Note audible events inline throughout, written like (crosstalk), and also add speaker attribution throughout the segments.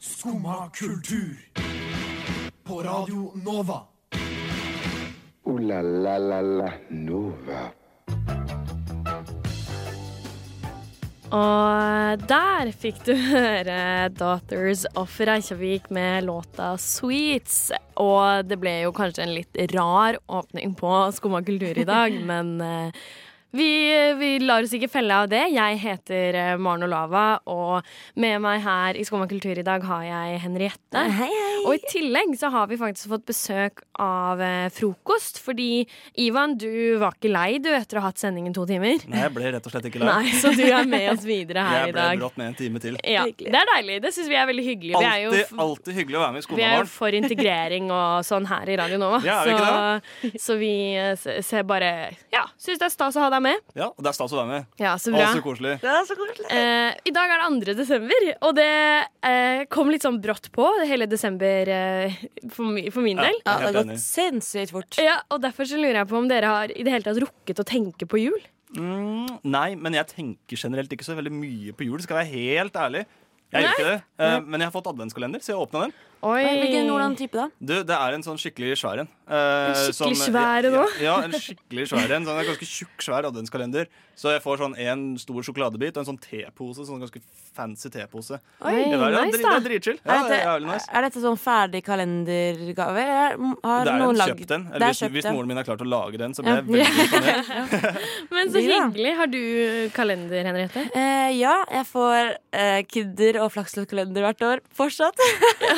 Speaker 1: Skumma kultur. På Radio Nova.
Speaker 2: Ooh la la la la Nova.
Speaker 3: Og der fikk du (laughs) høre Daughters of Reykjavik med låta 'Sweets'. Og det ble jo kanskje en litt rar åpning på Skumma kultur i dag,
Speaker 4: (laughs)
Speaker 3: men eh, vi, vi lar oss ikke felle av det. Jeg heter eh, Maren Olava, og med meg her i Skumma kultur i dag har jeg Henriette.
Speaker 4: Eh, Hei, hei.
Speaker 3: Og i tillegg så har vi faktisk fått besøk av eh, frokost, fordi Ivan, du var ikke lei du etter å ha hatt sendingen to timer.
Speaker 5: Nei, jeg ble rett og slett ikke lei.
Speaker 3: Nei, så du er med oss videre her
Speaker 5: Jeg
Speaker 3: i
Speaker 5: ble
Speaker 3: dag.
Speaker 5: brått med en time til.
Speaker 3: Ja,
Speaker 4: Hyggelig.
Speaker 3: det er deilig. Det syns vi er veldig hyggelig. Vi er jo,
Speaker 5: Alltid, alltid hyggelig å være med i
Speaker 3: vi er jo
Speaker 5: skolen.
Speaker 3: for integrering og sånn her i Radio Nova.
Speaker 5: Ja, er vi ikke
Speaker 3: så, så vi eh, se- ser bare Ja, syns det er stas å ha deg med.
Speaker 5: Ja, og det er stas å være med.
Speaker 3: Ja, så
Speaker 5: Å,
Speaker 3: bra.
Speaker 5: så koselig.
Speaker 4: Det er så koselig.
Speaker 3: Eh, I dag er det 2. desember, og det eh, kom litt sånn brått på, hele desember, eh, for, mi- for min
Speaker 5: Ja,
Speaker 3: del.
Speaker 4: Ja, det
Speaker 5: helt
Speaker 4: har
Speaker 5: enig.
Speaker 4: gått sinnssykt fort.
Speaker 3: Ja, og Derfor så lurer jeg på om dere har i det hele tatt rukket å tenke på jul.
Speaker 5: Mm, nei, men jeg tenker generelt ikke så veldig mye på jul, skal jeg være helt ærlig. Jeg gjør ikke det, Eh, men jeg har fått adventskalender, så jeg åpna den.
Speaker 3: Oi.
Speaker 4: Eh, Hvilken hvordan type da?
Speaker 5: Du, det er en sånn skikkelig svær en. Eh,
Speaker 3: En skikkelig
Speaker 5: som-
Speaker 3: svær en
Speaker 5: ja,
Speaker 3: også?
Speaker 5: Ja, en skikkelig svær en. Sånn en ganske tjukk, svær adventskalender. Så jeg får sånn en stor sjokoladebit og en sånn tepose. Sånn ganske fancy tepose.
Speaker 3: Oi,
Speaker 5: det, er,
Speaker 3: nice, da.
Speaker 5: det, er, det er dritchill.
Speaker 4: er,
Speaker 5: Ja, det er jævlig
Speaker 4: dette,
Speaker 5: nice.
Speaker 4: er dette sånn ferdig kalendergave? eller er- Har
Speaker 5: Det er
Speaker 4: noen
Speaker 5: en
Speaker 4: lagd
Speaker 5: kjøpt en.
Speaker 4: Det
Speaker 5: Eller
Speaker 4: er
Speaker 5: hvis,
Speaker 4: kjøpt,
Speaker 5: hvis
Speaker 4: ja.
Speaker 5: moren min er klar til å lage den, så blir jeg
Speaker 4: (laughs) Ja.
Speaker 5: veldig imponert.
Speaker 3: Men så
Speaker 4: Ja.
Speaker 3: hyggelig. Har du kalender, Henriette?
Speaker 4: Eh, ja, jeg får eh, kidder og flakslottkalender hvert år (laughs) fortsatt.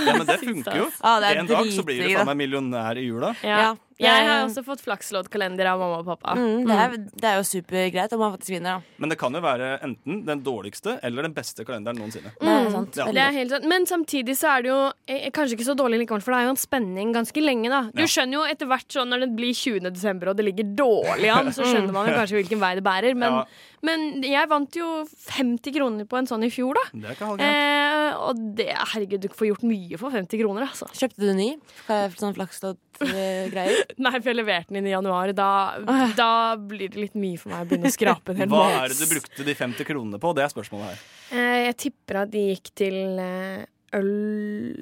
Speaker 5: Ja, men det funker jo.
Speaker 4: Ja, det er
Speaker 5: en dag så blir du
Speaker 4: dritdigg, da.
Speaker 5: faen meg millionær i jula.
Speaker 3: Ja. eh,
Speaker 4: Ja,
Speaker 3: jeg
Speaker 4: det-
Speaker 3: har også fått flaksloddkalender av mamma og pappa.
Speaker 4: Mm, det, er, det er jo supergreit om man faktisk vinner, da.
Speaker 5: Men det kan jo være enten den dårligste eller den beste kalenderen noensinne.
Speaker 4: Det er sant.
Speaker 5: Ja.
Speaker 3: Det er helt sant. Men samtidig så er det jo eh, kanskje ikke så dårlig likevel, for det er jo en spenning ganske lenge. da Du
Speaker 5: Ja.
Speaker 3: skjønner jo etter hvert sånn når det blir 20. desember og det ligger dårlig an, (laughs) så skjønner man jo kanskje hvilken vei det bærer. Men,
Speaker 5: Ja.
Speaker 3: men jeg vant jo 50 kroner på en sånn i fjor, da.
Speaker 5: Det er ikke halvgærent.
Speaker 3: Eh, og det, herregud, du får gjort mye for 50 kroner, altså.
Speaker 4: Kjøpte du ny eh, sånn flakslottgreier? (laughs)
Speaker 3: Nei, for jeg leverte den inn i januar. Da, da blir det litt mye for meg å begynne å skrape
Speaker 4: Eh,
Speaker 3: en hel
Speaker 5: Hva
Speaker 3: måned.
Speaker 5: er det du brukte de 50 kronene på? Det er spørsmålet her.
Speaker 3: Eh, Jeg tipper at de gikk til eh, øl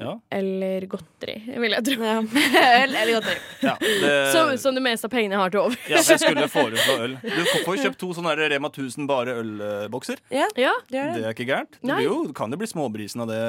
Speaker 5: Ja.
Speaker 3: eller godteri, vil jeg tro.
Speaker 4: Ja. Øl eller godteri?
Speaker 5: Ja,
Speaker 4: (laughs)
Speaker 5: det,
Speaker 3: Som, som det meste av pengene jeg har til over.
Speaker 5: ja, jeg skulle foreslå øl. Du får jo kjøpt to sånne her Rema 1000 bare ølbokser.
Speaker 4: Ja,
Speaker 3: Ja,
Speaker 4: det gjør det.
Speaker 5: Det er ikke gærent. Det
Speaker 3: Nei.
Speaker 5: blir jo, kan jo bli småbrisen av det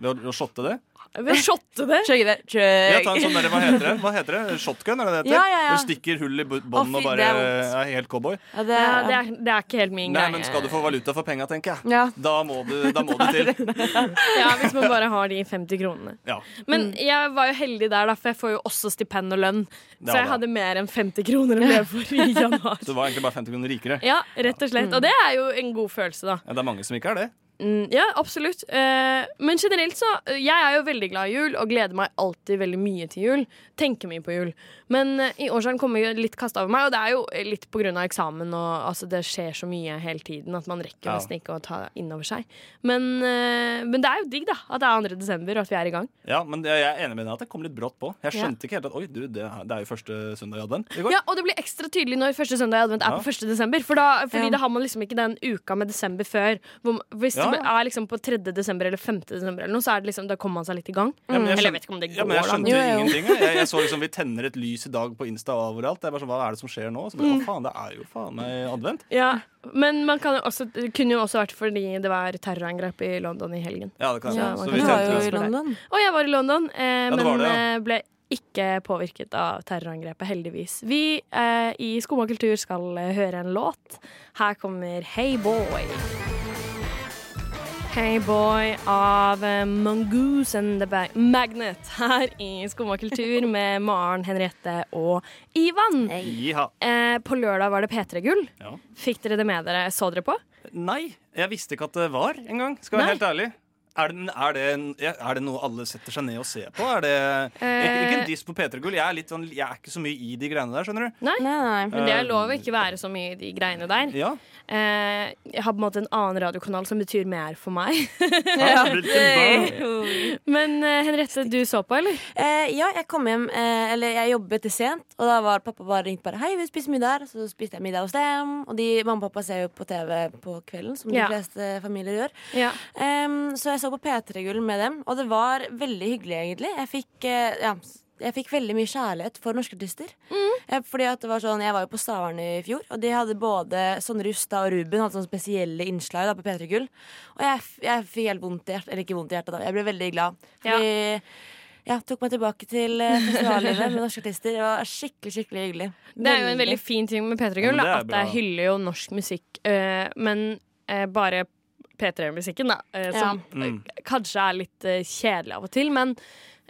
Speaker 5: ved å- å shotte det.
Speaker 3: ved å shotte det.
Speaker 4: Chugge det.
Speaker 5: Ja, ta en sånn der, hva heter det? Hva heter det? Shotgun, er det det heter?
Speaker 4: Eh. Ja, ja, ja.
Speaker 5: Du stikker hull i bu-
Speaker 4: Å,
Speaker 5: bånden
Speaker 4: fy,
Speaker 5: og bare
Speaker 4: det er vondt.
Speaker 5: er helt cowboy.
Speaker 4: Ja, det,
Speaker 3: Ja,
Speaker 4: er-
Speaker 3: det, er, det er ikke helt min
Speaker 5: Nei,
Speaker 3: greie.
Speaker 5: men skal du få valuta for penga, tenker jeg.
Speaker 4: ja.
Speaker 5: Da må du,
Speaker 3: (laughs)
Speaker 5: da må du til.
Speaker 3: Ja, Hvis man bare har de 50 kronene.
Speaker 5: Ja.
Speaker 3: Men jeg var jo heldig der, da, for jeg får jo også stipend og lønn.
Speaker 5: Det
Speaker 3: Så
Speaker 5: var
Speaker 3: jeg
Speaker 5: bra.
Speaker 3: hadde mer enn 50 kroner å leve for (laughs) i januar.
Speaker 5: Så Mm. du var egentlig bare 50 kroner rikere.
Speaker 3: Ja, rett og slett. Og det er jo en god følelse, da.
Speaker 5: Ja, det er mange som ikke er det.
Speaker 3: Mm, ja, absolutt. Eh, men generelt så eh, Jeg er jo veldig glad i jul og gleder meg alltid veldig mye til jul. Tenker mye på jul. Men eh, i år så har den kommet litt kasta over meg, og det er jo eh, litt pga. eksamen og altså, det skjer så mye hele tiden at man rekker
Speaker 5: Ja.
Speaker 3: nesten ikke å ta det inn over seg. Men, eh, men det er jo digg, da. At det er 2. desember og at vi er i gang.
Speaker 5: Ja, men jeg er enig med deg at det kom litt brått på. Jeg
Speaker 3: Ja.
Speaker 5: skjønte ikke helt at Oi, du, det er, det er jo første søndag i advent. I går.
Speaker 3: Ja, Og det blir ekstra tydelig når første søndag i advent er
Speaker 5: Ja.
Speaker 3: på 1. desember. For da, fordi
Speaker 4: Ja.
Speaker 3: da har man liksom ikke den uka med desember før. Hvor, hvis
Speaker 5: Ja.
Speaker 3: det er liksom på 3. desember eller 5. desember eller noe, så er det liksom, da kommer man seg litt i gang.
Speaker 5: Ja, men jeg
Speaker 3: Eller jeg
Speaker 5: skjøn-
Speaker 3: vet ikke om det går,
Speaker 5: ja, men jeg
Speaker 3: da.
Speaker 5: skjønte
Speaker 4: Jo,
Speaker 5: jo
Speaker 4: jo.
Speaker 5: ingenting. jeg. Jeg, jeg så liksom vi tenner et lys i dag på Insta og overalt. Jeg bare sånn, Hva er det som skjer nå? Så
Speaker 3: Mm.
Speaker 5: bare, å faen, det er jo faen meg advent.
Speaker 3: Ja, men man kan jo også, det kunne jo også vært fordi det var terrorangrep i London i helgen.
Speaker 5: Ja, det kan
Speaker 3: Ja, man
Speaker 5: jeg si. Så
Speaker 3: kan-
Speaker 5: vi
Speaker 4: Du var
Speaker 5: tente
Speaker 4: jo
Speaker 5: oss
Speaker 4: i London.
Speaker 3: Og jeg var i London, eh,
Speaker 5: det
Speaker 3: men
Speaker 5: var det, ja.
Speaker 3: eh, ble ikke påvirket av terrorangrepet, heldigvis. Vi eh, i Skumma kultur skal eh, høre en låt. Her kommer Hey Boy. Hey Boy av eh, Mongoose and the Ba- Magnet her i Skumma kultur med Maren, Henriette og Ivan.
Speaker 5: Jiha.
Speaker 3: Eh, på lørdag var det P3 Gull.
Speaker 5: Ja.
Speaker 3: Fikk dere det med dere? Så dere på?
Speaker 5: Nei, jeg visste ikke at det var engang. Skal jeg være helt ærlig. Er det, er, det, en- er det noe alle setter seg ned og ser på? Er det ikke, ikke
Speaker 3: Eh,
Speaker 5: en diss på P3 Gull. Jeg er, litt sånn, jeg er ikke så mye i de greiene der, skjønner du.
Speaker 3: Nei.
Speaker 4: Nei, nei.
Speaker 5: Eh,
Speaker 3: Men det er lov å ikke være så mye i de greiene der.
Speaker 5: Ja,
Speaker 3: eh, Jeg har på en måte en annen radiokanal som betyr mer for meg. (laughs) Men eh, Henriette, du så på, eller?
Speaker 4: Eh, ja, jeg kom hjem, eh, eller jeg jobbet til sent, og da var pappa bare ringt bare Hei, vi spiser middag her. Så spiste jeg middag hos dem. Og de, mamma og pappa ser jo på TV på kvelden, som
Speaker 3: Ja.
Speaker 4: de fleste familier gjør.
Speaker 3: Ja.
Speaker 4: Em, så jeg så på P3-gull med dem, og det var veldig hyggelig, egentlig. Jeg fikk, eh, ja, s- jeg fikk veldig mye kjærlighet for norske artister. Eh, Fordi at det var sånn, Jeg var jo på Stavern i fjor, og de hadde både Sondre Justad og Ruben hadde sånne spesielle innslag da, på P3 Gull. Og jeg, f- jeg fikk helt vondt i hjertet. Eller ikke vondt i hjertet, da. Jeg ble veldig glad. Fordi ja, tok meg tilbake til eh, festivallivet med norske artister. Det var skikkelig, skikkelig hyggelig.
Speaker 3: Det er jo en veldig fin ting med P3 Gull,
Speaker 5: Ja, men det
Speaker 3: da,
Speaker 5: er
Speaker 3: at
Speaker 5: bra.
Speaker 3: det hyller jo norsk musikk, eh, men eh, bare P3-musikken, da, eh, som
Speaker 5: Mm.
Speaker 3: eh, kanskje er litt eh, kjedelig av og til, men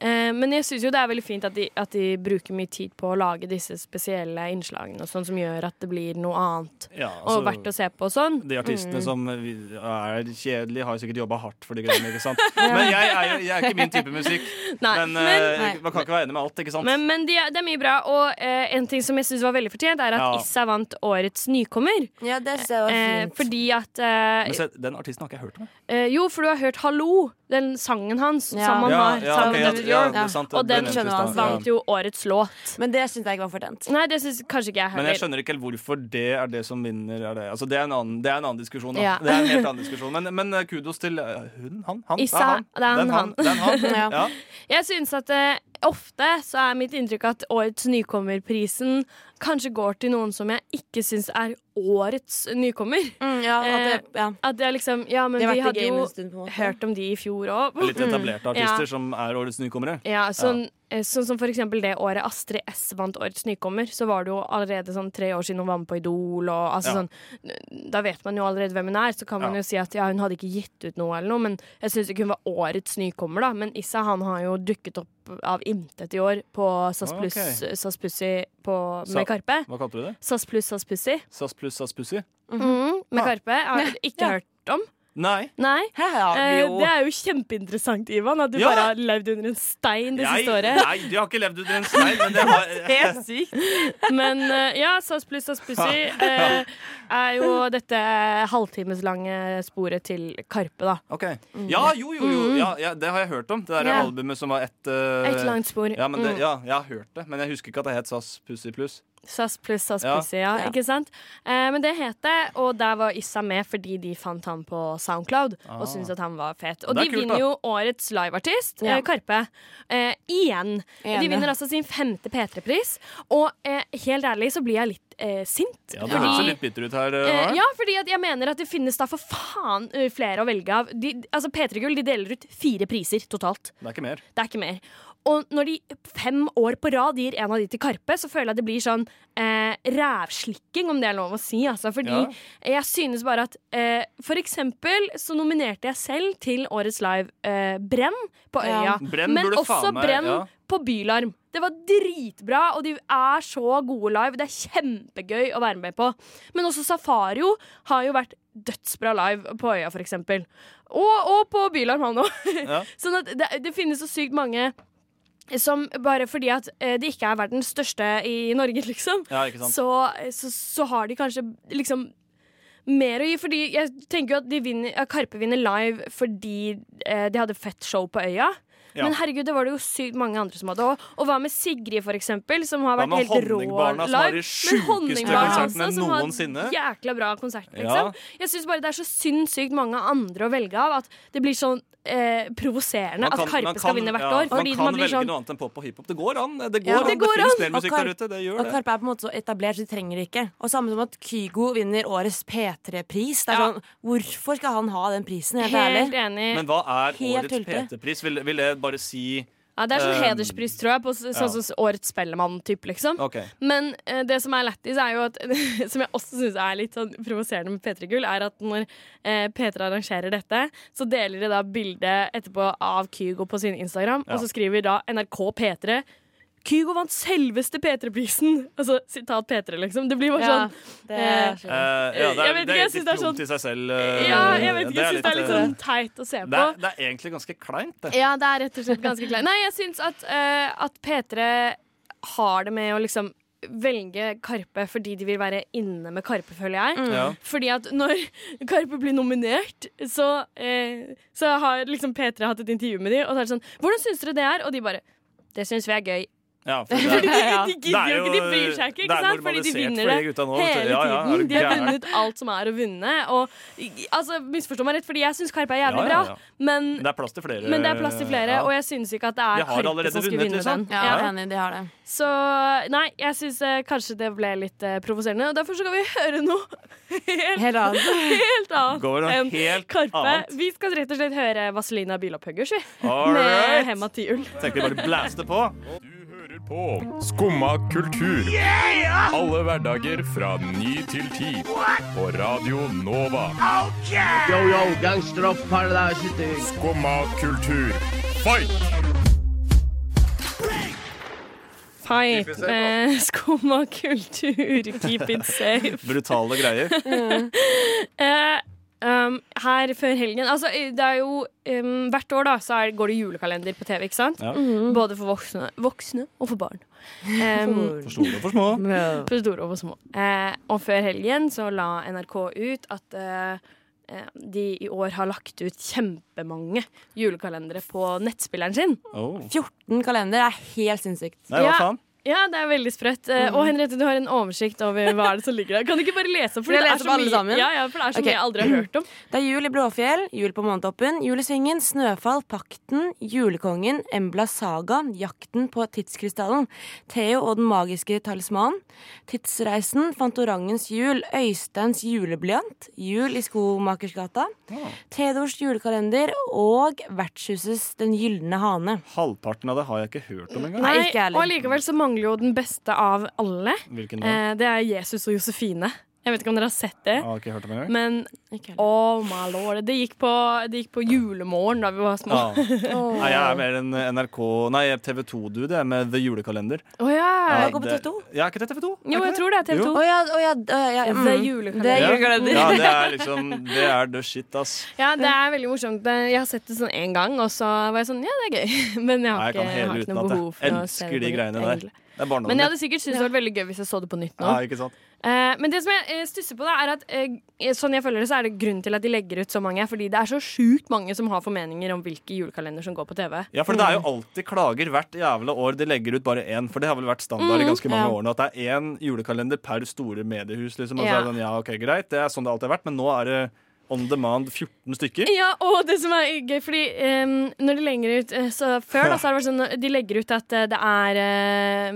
Speaker 3: eh, men jeg syns jo det er veldig fint at de, at de bruker mye tid på å lage disse spesielle innslagene og sånn, som gjør at det blir noe annet
Speaker 5: Ja,
Speaker 3: og verdt
Speaker 5: altså,
Speaker 3: å se på og sånn.
Speaker 5: de artistene som vi- er kjedelige, har jo sikkert jobba hardt for de greiene. ikke
Speaker 3: (laughs)
Speaker 5: sant? Men jeg er, jo- jeg er ikke min type musikk.
Speaker 3: Nei,
Speaker 5: Men,
Speaker 3: men-
Speaker 5: eh, man kan ikke være enig med alt, ikke sant?
Speaker 3: Men, men de, er- det er mye bra, og eh, en ting som jeg syns var veldig fortjent, er at
Speaker 5: Ja.
Speaker 3: Issa vant årets nykommer.
Speaker 4: Ja, det syns jeg var
Speaker 3: Eh,
Speaker 4: fint.
Speaker 3: fordi at eh,
Speaker 5: Men se, den artisten har ikke jeg hørt om. jeg.
Speaker 3: Eh, jo, for du har hørt 'Hallo', den sangen hans.
Speaker 4: Ja.
Speaker 3: Som han
Speaker 5: Ja,
Speaker 3: har
Speaker 5: ja,
Speaker 3: sammen
Speaker 5: ok,
Speaker 3: med
Speaker 5: ja,
Speaker 3: David
Speaker 5: ja,
Speaker 3: York.
Speaker 5: det er sant, det
Speaker 3: Og
Speaker 5: ble
Speaker 3: den
Speaker 5: nevnt i
Speaker 4: skjønner han
Speaker 5: stad, ja.
Speaker 3: vant jo årets låt.
Speaker 4: Men det syns jeg ikke var fortjent.
Speaker 3: Nei, det syns kanskje ikke jeg
Speaker 5: Men
Speaker 3: heller.
Speaker 5: jeg skjønner ikke helt hvorfor det er det som vinner. Er det. Altså, det, er en annen, det er en annen diskusjon. Da.
Speaker 3: Ja.
Speaker 5: Det er en helt annen diskusjon Men, men eh, kudos til eh, hun, han, han.
Speaker 3: Issa,
Speaker 5: det er han.
Speaker 3: det er han,
Speaker 5: den,
Speaker 3: han.
Speaker 5: han. Den, han.
Speaker 4: Ja.
Speaker 3: (laughs)
Speaker 5: Ja.
Speaker 3: Jeg synes at eh, ofte så er mitt inntrykk at årets nykommerprisen kanskje går til noen som jeg ikke syns er årets nykommer.
Speaker 4: Mm, ja, at det, ja.
Speaker 3: At det er liksom Ja, men
Speaker 4: Det har
Speaker 3: vi
Speaker 4: vært i
Speaker 3: hadde
Speaker 4: gamet
Speaker 3: jo
Speaker 4: en stund, på en måte.
Speaker 3: hørt om de i fjor òg.
Speaker 5: Litt etablerte artister
Speaker 3: Mm. Ja.
Speaker 5: som er årets nykommere.
Speaker 3: Ja, sånn, eh, sånn som for eksempel det året Astrid S vant Årets nykommer, så var det jo allerede sånn tre år siden hun var med på Idol. Og, altså,
Speaker 5: Ja.
Speaker 3: sånn, da vet man jo allerede hvem hun er, så kan man
Speaker 5: Ja.
Speaker 3: jo si at ja, hun hadde ikke gitt ut noe, eller noe, men jeg syns ikke hun var Årets nykommer, da. Men Issa han har jo dukket opp av intet i år på SAS
Speaker 5: Ah, Ok.
Speaker 3: Pluss SAS Pussy på,
Speaker 5: Sa-
Speaker 3: med Karpe.
Speaker 5: Hva kalte du det?
Speaker 3: SAS Pluss SAS Pussy
Speaker 5: SAS pluss SAS Pussy?
Speaker 3: Mhm, med
Speaker 5: Ah.
Speaker 3: Karpe. Jeg
Speaker 5: (laughs)
Speaker 3: har ikke hørt om.
Speaker 5: Nei.
Speaker 3: Nei.
Speaker 4: Hæ, ja,
Speaker 3: Eh,
Speaker 4: jo.
Speaker 3: det er jo kjempeinteressant, Ivan, at du
Speaker 5: Ja.
Speaker 3: bare har levd under en stein det
Speaker 5: Jeg,
Speaker 3: siste året.
Speaker 5: nei, de har ikke levd under en stein, men det har
Speaker 4: Helt sykt.
Speaker 3: Men eh, ja, SAS pluss SAS pussy eh, er jo dette halvtimeslange sporet til Karpe, da.
Speaker 5: Ok. Ja, jo, jo, jo. Ja, ja, det har jeg hørt om. Det der
Speaker 3: Mm. Ja.
Speaker 5: albumet som var ett eh,
Speaker 3: Et langt spor.
Speaker 5: ja, men det,
Speaker 3: Mm.
Speaker 5: ja, jeg har hørt det, men jeg husker ikke at det het SAS Pussy pluss.
Speaker 3: SAS pluss SAS
Speaker 5: Ja.
Speaker 3: pussy, ja.
Speaker 4: Ja.
Speaker 3: Ikke sant? Eh, men det het det, og der var Issa med fordi de fant han på Soundcloud og syntes at han var fet. Og
Speaker 5: Ah. Det er
Speaker 3: de
Speaker 5: kult, da.
Speaker 3: vinner jo årets liveartist,
Speaker 4: Ja.
Speaker 3: eh, Karpe. Eh, igjen.
Speaker 4: Enig.
Speaker 3: De vinner altså sin femte P3-pris, og eh, helt ærlig så blir jeg litt eh, sint.
Speaker 5: Ja, du høres jo litt bitter ut her. eh,
Speaker 3: Eh,
Speaker 5: Maren.
Speaker 3: ja, fordi at jeg mener at det finnes da for faen eh, flere å velge av. De, altså P3 Gull de deler ut fire priser totalt.
Speaker 5: Det er ikke mer.
Speaker 3: Det er ikke mer. Og når de fem år på rad gir en av de til Karpe, så føler jeg det blir sånn eh, rævslikking, om det er lov å si. Altså, fordi
Speaker 5: Ja.
Speaker 3: jeg synes bare at eh, For eksempel så nominerte jeg selv til Årets Live eh, Brenn på Øya.
Speaker 4: Ja.
Speaker 5: Brenn
Speaker 3: men
Speaker 5: burde
Speaker 3: også
Speaker 5: faen meg-
Speaker 3: Brenn
Speaker 5: ja.
Speaker 3: på Bylarm. Det var dritbra, og de er så gode live. Det er kjempegøy å være med på. Men også Safario har jo vært dødsbra live på Øya, for eksempel. Og, og på Bylarm, han òg.
Speaker 5: Ja.
Speaker 3: sånn at det, det finnes så sykt mange som bare fordi at eh, de ikke er verdens største i Norge, (laughs) liksom,
Speaker 5: Ja, ikke sant.
Speaker 3: så, så, så har de kanskje liksom mer å gi. Fordi jeg tenker jo at de vinner, ja, Karpe vinner live fordi eh, de hadde fett show på Øya.
Speaker 5: Ja.
Speaker 3: Men herregud, det var det jo sykt mange andre som hadde. Og, og hva med Sigrid, for eksempel, som har
Speaker 5: Hva
Speaker 3: vært
Speaker 5: med
Speaker 3: helt rå
Speaker 5: Honningbarna, som har
Speaker 3: live.
Speaker 5: de
Speaker 3: altså,
Speaker 5: sjukeste konsertene noensinne?
Speaker 3: har jækla bra konsert,
Speaker 5: Ja.
Speaker 3: liksom. Jeg syns bare det er så sinnssykt mange andre å velge av at det blir sånn eh, provoserende
Speaker 5: Man kan-
Speaker 3: at Karpe
Speaker 5: man kan-
Speaker 3: skal vinne hvert
Speaker 5: ja,
Speaker 3: år. Fordi
Speaker 5: man kan
Speaker 3: man blir
Speaker 5: velge
Speaker 3: sånn
Speaker 5: noe annet enn pop og hiphop. Det går an. Det, går
Speaker 4: Ja,
Speaker 5: an.
Speaker 4: det
Speaker 5: det,
Speaker 3: går
Speaker 5: finnes
Speaker 3: an.
Speaker 5: mer musikk
Speaker 4: Og Karpe-
Speaker 5: der ute. Det gjør
Speaker 4: Og
Speaker 5: det.
Speaker 4: Karpe er på en måte så etablert, så de trenger det ikke. Og samme som at Kygo vinner årets P3-pris. Det er
Speaker 3: Ja.
Speaker 4: sånn, Hvorfor skal han ha den prisen? Helt
Speaker 3: Helt
Speaker 4: ærlig.
Speaker 3: enig.
Speaker 5: Men hva er
Speaker 4: Helt
Speaker 5: årets
Speaker 4: tullete.
Speaker 5: PT-pris? Vil, vil det bare si
Speaker 3: Ja, det er sånn
Speaker 5: Eh,
Speaker 3: hederspris, tror jeg, på s- sånn som Årets Spellemann-type, liksom.
Speaker 5: OK.
Speaker 3: Men eh, det som er lættis, er jo at (laughs) Som jeg også syns er litt sånn provoserende med P3 Gull, er at når eh, P3 arrangerer dette, så deler de da bilde etterpå av Kygo på sin Instagram,
Speaker 5: Ja.
Speaker 3: og så skriver da NRK P3 Kygo vant selveste P3-prisen! Altså sitat P3, liksom. Det blir bare
Speaker 4: Ja,
Speaker 3: sånn.
Speaker 4: det
Speaker 3: eh,
Speaker 5: Eh, ja,
Speaker 3: Jeg
Speaker 5: det
Speaker 3: vet
Speaker 5: er,
Speaker 3: ikke, jeg
Speaker 5: det er
Speaker 3: synes
Speaker 5: et
Speaker 3: det er
Speaker 5: diplom
Speaker 3: sånn-
Speaker 5: til seg selv. eh,
Speaker 3: Ja, jeg vet ikke, jeg syns det er litt
Speaker 5: eh,
Speaker 3: sånn teit å se
Speaker 5: det
Speaker 3: på.
Speaker 5: er, det er egentlig ganske kleint, det.
Speaker 3: Ja, det er rett og slett ganske kleint. Nei, jeg syns at, eh, at P3 har det med å liksom velge Karpe fordi de vil være inne med Karpe, føler jeg.
Speaker 5: Ja.
Speaker 3: Fordi at når (laughs) Karpe blir nominert, så, eh, så har liksom P3 hatt et intervju med de, og så er det sånn 'Hvordan syns dere det er?' Og de bare 'Det syns vi er gøy'.
Speaker 5: ja for
Speaker 3: Fordi
Speaker 5: det,
Speaker 3: de,
Speaker 4: Ja.
Speaker 3: de
Speaker 5: Det
Speaker 3: gidder
Speaker 5: er
Speaker 3: jo ikke, de
Speaker 5: jo-
Speaker 3: bryr seg ikke,
Speaker 5: det
Speaker 3: ikke
Speaker 5: er
Speaker 3: sant? Fordi de
Speaker 5: normalisert
Speaker 3: vinner
Speaker 5: for
Speaker 3: det
Speaker 5: de gutta nå, vet du.
Speaker 3: hele
Speaker 5: Ja, ja, er
Speaker 3: tiden.
Speaker 5: du
Speaker 3: De har
Speaker 5: gæren?
Speaker 3: vunnet alt som er å vinne. Og altså, misforstå meg rett, fordi jeg syns Karpe er jævlig
Speaker 5: Ja, ja, ja.
Speaker 3: bra, men
Speaker 5: men det er plass til flere.
Speaker 3: men det er plass til flere, og jeg syns ikke at det
Speaker 5: De
Speaker 3: er
Speaker 5: har allerede
Speaker 3: Karpe som skulle
Speaker 5: vunnet,
Speaker 3: vinne
Speaker 5: liksom.
Speaker 3: den.
Speaker 4: Ja,
Speaker 5: Ja.
Speaker 4: enig, de har det.
Speaker 3: Så nei, jeg syns eh, kanskje det ble litt eh, provoserende. Og derfor så skal vi høre noe (laughs) helt,
Speaker 4: Helt
Speaker 3: (laughs)
Speaker 4: annet.
Speaker 3: helt annet
Speaker 5: Går det
Speaker 3: enn
Speaker 5: helt
Speaker 3: Karpe.
Speaker 5: annet?
Speaker 3: Vi skal rett og slett høre Vazelina Bilopphøggers, vi.
Speaker 5: All
Speaker 3: Med
Speaker 5: right.
Speaker 3: Hemma Tiul.
Speaker 5: Tenkte vi bare blæste på.
Speaker 6: på Skumma kultur. Alle hverdager fra ny til ti. På Radio Nova. Skumma kultur. Fight!
Speaker 3: Fight med skum og Eh, kultur. Keep it safe.
Speaker 5: Brutale greier.
Speaker 3: Eh, um, her før helgen Altså, eh, det er jo um, Hvert år da, så er, går det julekalender på TV, ikke sant?
Speaker 5: Ja.
Speaker 3: Både for voksne, voksne og for barn. Um,
Speaker 5: For store og for små.
Speaker 3: for store og for små. Eh, og før helgen så la NRK ut at eh, eh, de i år har lagt ut kjempemange julekalendere på nettspilleren sin.
Speaker 5: Oh.
Speaker 4: 14 kalender er helt sinnssykt.
Speaker 5: Nei, hva
Speaker 3: Mm. Ja.
Speaker 5: faen?
Speaker 3: Ja, det er veldig sprøtt. Eh, Og Henriette, du har en oversikt over hva er det som ligger der. Kan du ikke bare lese opp?
Speaker 4: Skal jeg
Speaker 3: det er
Speaker 4: lese
Speaker 3: så
Speaker 4: opp alle
Speaker 3: mye-
Speaker 4: sammen?
Speaker 3: Ja, ja, for det er så
Speaker 4: Ok.
Speaker 3: mye jeg aldri har hørt om.
Speaker 4: Det er jul i Blåfjell, jul på Månetoppen, jul i Svingen, Snøfall, Pakten, Julekongen, Embla Saga, Jakten på tidskrystallen, Theo og den magiske talisman, Tidsreisen, Fantorangens jul, Øysteins juleblyant, Jul i Skomakersgata, Theodors julekalender og Vertshusets Den gylne hane.
Speaker 5: Halvparten av det har jeg ikke hørt om engang.
Speaker 4: Nei, ikke jeg heller.
Speaker 3: Og likevel så mangler jo den beste av alle.
Speaker 5: Hvilken da?
Speaker 3: Eh, det er Jesus og Josefine. Jeg vet ikke om dere har sett det.
Speaker 5: Jeg har ikke hørt om engang.
Speaker 3: Men
Speaker 4: Ikke heller.
Speaker 3: oh my lord, det gikk på, det gikk på julemorgen da vi var (laughs) små.
Speaker 5: Ah. Nei, jeg er mer en NRK Nei, TV 2-dude jeg, med The Julekalender.
Speaker 3: Å ja.
Speaker 5: Ja,
Speaker 4: går på
Speaker 5: det-
Speaker 4: TV2?
Speaker 5: Ja, er ikke det TV 2?
Speaker 3: Jo, jeg tror det er TV 2.
Speaker 4: Å ja, å ja, å ja, ja.
Speaker 3: The
Speaker 4: mm.
Speaker 3: julekalender.
Speaker 4: Det er
Speaker 5: Ja.
Speaker 4: julekalender.
Speaker 5: Ja, det er liksom Det er the shit, ass.
Speaker 3: Ja, det er veldig morsomt. Jeg har sett det sånn én gang, og så var jeg sånn Ja, det er gøy. (laughs) Men jeg
Speaker 5: Nei,
Speaker 3: har
Speaker 5: jeg
Speaker 3: ikke,
Speaker 5: kan
Speaker 3: jeg har
Speaker 5: hele
Speaker 3: ikke noe
Speaker 5: utenat.
Speaker 3: behov
Speaker 5: Jeg
Speaker 3: for å se
Speaker 5: elsker de
Speaker 3: det på nytt,
Speaker 5: greiene der.
Speaker 3: egentlig.
Speaker 5: Det er
Speaker 3: Men jeg
Speaker 5: barndommen
Speaker 3: hadde sikkert syntes det var veldig gøy hvis jeg så det på nytt nå.
Speaker 5: Ja, ikke sant?
Speaker 3: Eh, men det som jeg eh, stusser på, da, er at eh, sånn jeg føler det, så er det grunnen til at de legger ut så mange. Fordi det er så sjukt mange som har formeninger om hvilke julekalender som går på TV.
Speaker 5: Ja, for det er jo
Speaker 3: Mm.
Speaker 5: alltid klager hvert jævla år. De legger ut bare én, for det har vel vært standard i
Speaker 3: Mm,
Speaker 5: ganske mange
Speaker 4: ja.
Speaker 5: år nå. At det er én julekalender per store mediehus, liksom. Og så
Speaker 3: Ja.
Speaker 5: er det sånn, ja, ok, greit, det er sånn det alltid har vært, men nå er det on demand 14 stykker.
Speaker 3: Ja, og det som er gøy, fordi em, når de legger ut eh, så Før da, så har det vært sånn de legger ut at eh, det er eh,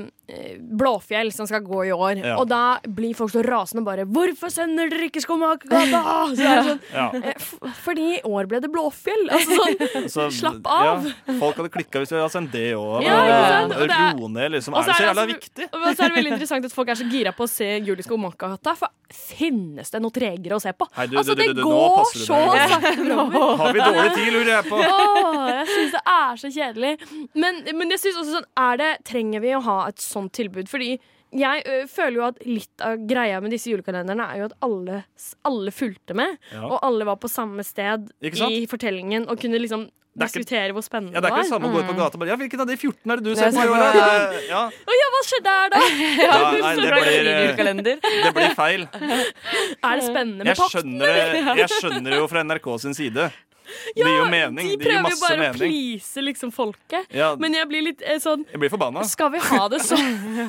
Speaker 3: Blåfjell som skal gå i år.
Speaker 5: Ja.
Speaker 3: Og da blir folk så rasende og bare 'Hvorfor sender dere ikke Skomakergata?' Så er det sånn,
Speaker 5: Ja.
Speaker 3: eh, f- fordi i år ble det Blåfjell. Altså sånn,
Speaker 5: Så-
Speaker 3: slapp av.
Speaker 5: Ja, folk hadde klikka hvis de hadde sendt det òg.
Speaker 3: Ja, ikke sant? Og det er-
Speaker 5: Ro ned, liksom.
Speaker 3: Og
Speaker 5: Er det så jævla
Speaker 3: altså-
Speaker 5: viktig?
Speaker 3: Og så er
Speaker 5: (laughs)
Speaker 3: det veldig interessant at folk er så gira på å se Julisko Makahata, for finnes det noe tregere å se på?
Speaker 5: Hei, du,
Speaker 3: altså,
Speaker 5: du, du,
Speaker 3: det
Speaker 5: du, du, nå
Speaker 3: går
Speaker 5: passer du
Speaker 3: så
Speaker 5: deg. (laughs)
Speaker 3: sakte framover.
Speaker 5: Har vi dårlig tid, lurer jeg på.
Speaker 3: Åh, jeg syns det er så kjedelig. Men, men jeg synes også sånn er det, Trenger vi å ha et sånt tilbud? Fordi jeg ø, føler jo at litt av greia med disse julekalenderne er jo at alle, s- alle fulgte med.
Speaker 5: Ja.
Speaker 3: Og alle var på samme sted
Speaker 5: Ikke sant?
Speaker 3: i fortellingen og kunne liksom
Speaker 5: Det er ikke-
Speaker 3: diskutere hvor spennende
Speaker 5: Ja, det er ikke det samme å gå ut på gata og bare Ja, hvilken av de 14 er det du
Speaker 4: Det er
Speaker 5: ser på i år,
Speaker 4: samme,
Speaker 5: da? Det- Ja,
Speaker 3: Ja, hva skjedde her, da?
Speaker 5: (laughs) Ja, nei, det blir, eh,
Speaker 4: Julekalender.
Speaker 5: det
Speaker 3: (laughs)
Speaker 5: blir feil.
Speaker 3: Er det spennende med
Speaker 5: Jeg
Speaker 3: pakk?
Speaker 5: skjønner det jeg skjønner det jo fra NRK sin side. Det gir jo mening.
Speaker 3: De
Speaker 5: Det gir
Speaker 3: prøver jo
Speaker 5: masse
Speaker 3: bare å
Speaker 5: mening.
Speaker 3: please liksom folket.
Speaker 5: Ja.
Speaker 3: Men jeg blir litt eh, sånn
Speaker 5: Jeg blir forbanna.
Speaker 3: Skal vi ha det sånn?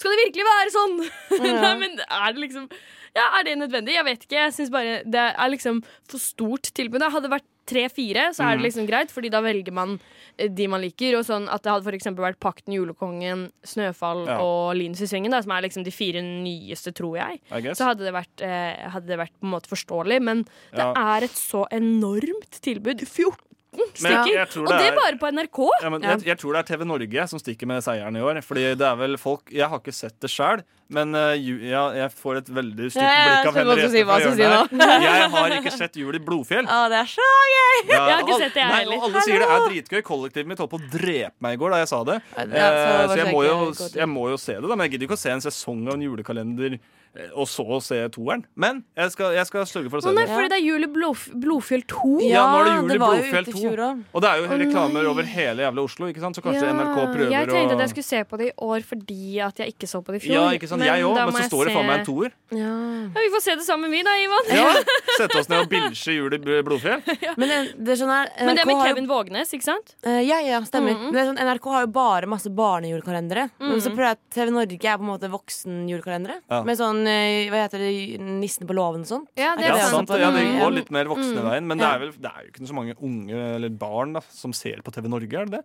Speaker 3: Skal det virkelig være sånn? (laughs) Nei, men er det liksom Ja, er det nødvendig? Jeg vet ikke. Jeg syns bare det er liksom for stort tilbud. Da Hadde det vært tre-fire, så
Speaker 5: Mhm.
Speaker 3: er det liksom greit, Fordi da velger man eh, de man liker. Og sånn at det hadde for eksempel vært Pakten, Julekongen, Snøfall
Speaker 5: Ja.
Speaker 3: og Linus i Svingen, da, som er liksom de fire nyeste, tror jeg.
Speaker 5: I guess.
Speaker 3: Så hadde det vært, eh, hadde det vært på en måte forståelig, men det
Speaker 5: Ja.
Speaker 3: er et så enormt tilbud. 14
Speaker 5: Men
Speaker 3: stykker!
Speaker 5: jeg tror
Speaker 3: og det
Speaker 5: det
Speaker 3: er
Speaker 5: er
Speaker 3: bare på NRK!
Speaker 5: ja, men jeg, jeg tror det er TV Norge som stikker med seieren i år. Fordi det er vel folk Jeg har ikke sett det sjøl, men eh, ju, ja, jeg får et veldig stygt
Speaker 4: Ja,
Speaker 5: blikk av
Speaker 4: jeg skjønner hva du
Speaker 5: Henriette
Speaker 4: sier,
Speaker 5: fra
Speaker 4: hva du sier
Speaker 5: hjørnet her. Jeg har ikke sett Jul i Blodfjell.
Speaker 4: Å, det er så gøy!
Speaker 5: Ja,
Speaker 3: Jeg har ikke
Speaker 5: og alle-
Speaker 3: sett det, jeg
Speaker 5: nei,
Speaker 3: heller.
Speaker 5: Og alle sier det er dritgøy. Kollektivet mitt holdt på å drepe meg i går da jeg sa det.
Speaker 4: Ja, det er- så
Speaker 5: Eh, Så jeg
Speaker 4: var
Speaker 5: må
Speaker 4: det
Speaker 5: jo,
Speaker 4: ikke godt.
Speaker 5: jeg må jo se det, da. Men jeg gidder ikke å se en sesong av en julekalender eh, og så se toeren. Men jeg skal, jeg skal sørge for å
Speaker 3: Å
Speaker 5: se
Speaker 3: nei,
Speaker 5: det.
Speaker 3: fordi det er jul i Blof Blodfjell 2.
Speaker 5: Ja, nå er det jul i
Speaker 4: det var jo
Speaker 5: Blodfjell
Speaker 4: ute i
Speaker 5: 2.
Speaker 4: fjor òg.
Speaker 5: Og det er jo
Speaker 3: Å
Speaker 5: reklamer
Speaker 3: nei.
Speaker 5: over hele jævla Oslo, ikke sant? så kanskje
Speaker 3: Ja,
Speaker 5: NRK prøver
Speaker 3: Jeg tenkte
Speaker 5: å
Speaker 3: at jeg skulle se på det i år fordi at jeg ikke så på det i fjor.
Speaker 5: Ja, ikke sant? Jeg òg,
Speaker 3: da
Speaker 5: men
Speaker 3: må
Speaker 5: så
Speaker 3: jeg
Speaker 5: står det faen meg en
Speaker 3: se-
Speaker 5: toer.
Speaker 3: (laughs) Ja, vi får se det sammen, vi da, Ivan.
Speaker 5: Ja, Sette oss ned og binsje jul i Blodfjell.
Speaker 4: Men det, det er sånn her
Speaker 3: Men det er
Speaker 4: NRK
Speaker 3: med
Speaker 4: har jo-
Speaker 3: Kevin Vågenes, ikke sant?
Speaker 4: Eh, ja, ja,
Speaker 3: Mm.
Speaker 4: stemmer. Men det er sånn, NRK har jo bare masse barnejulekalendere. Men så prøver jeg at TV Norge er på en måte voksenjulekalendere.
Speaker 5: Ja.
Speaker 4: Med sånn eh, hva heter det, Nissen på låven og sånn.
Speaker 3: Ja, det
Speaker 5: Ja,
Speaker 3: er
Speaker 4: det
Speaker 5: sant,
Speaker 4: sant?
Speaker 5: ja, det
Speaker 4: Mm.
Speaker 5: går litt mer voksne veien, men det
Speaker 4: Ja.
Speaker 5: er, vel, det er jo ikke så mange unge eller barn da, som ser på TV Norge, er det det?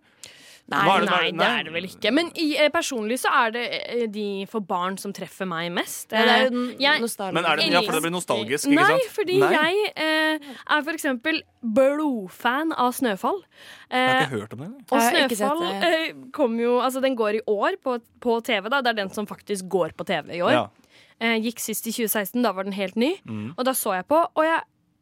Speaker 3: Nei,
Speaker 5: Hva er det-
Speaker 3: nei,
Speaker 5: hva er det-
Speaker 3: det
Speaker 5: nei.
Speaker 3: er det vel ikke. Men i, eh, personlig så er det eh, de for barn som treffer meg mest.
Speaker 4: Ja, det er jo
Speaker 3: Eh,
Speaker 4: den
Speaker 3: jeg-
Speaker 4: nostalgiske-
Speaker 5: Men er det- ja, for det blir nostalgisk, ikke
Speaker 3: Nei,
Speaker 5: sant?
Speaker 3: fordi
Speaker 5: Nei.
Speaker 3: jeg eh, er for eksempel blodfan av Snøfall.
Speaker 5: Jeg har
Speaker 3: Eh,
Speaker 5: ikke hørt om det. eller?
Speaker 3: og
Speaker 4: Jeg har ikke sett
Speaker 3: Snøfall
Speaker 4: det.
Speaker 3: eh, kom jo, altså den går i år på, på TV. da Det er den som faktisk går på TV i år.
Speaker 5: Ja. Mm.
Speaker 3: Eh, gikk sist i 2016, da var den helt ny. Og da så jeg på, og jeg,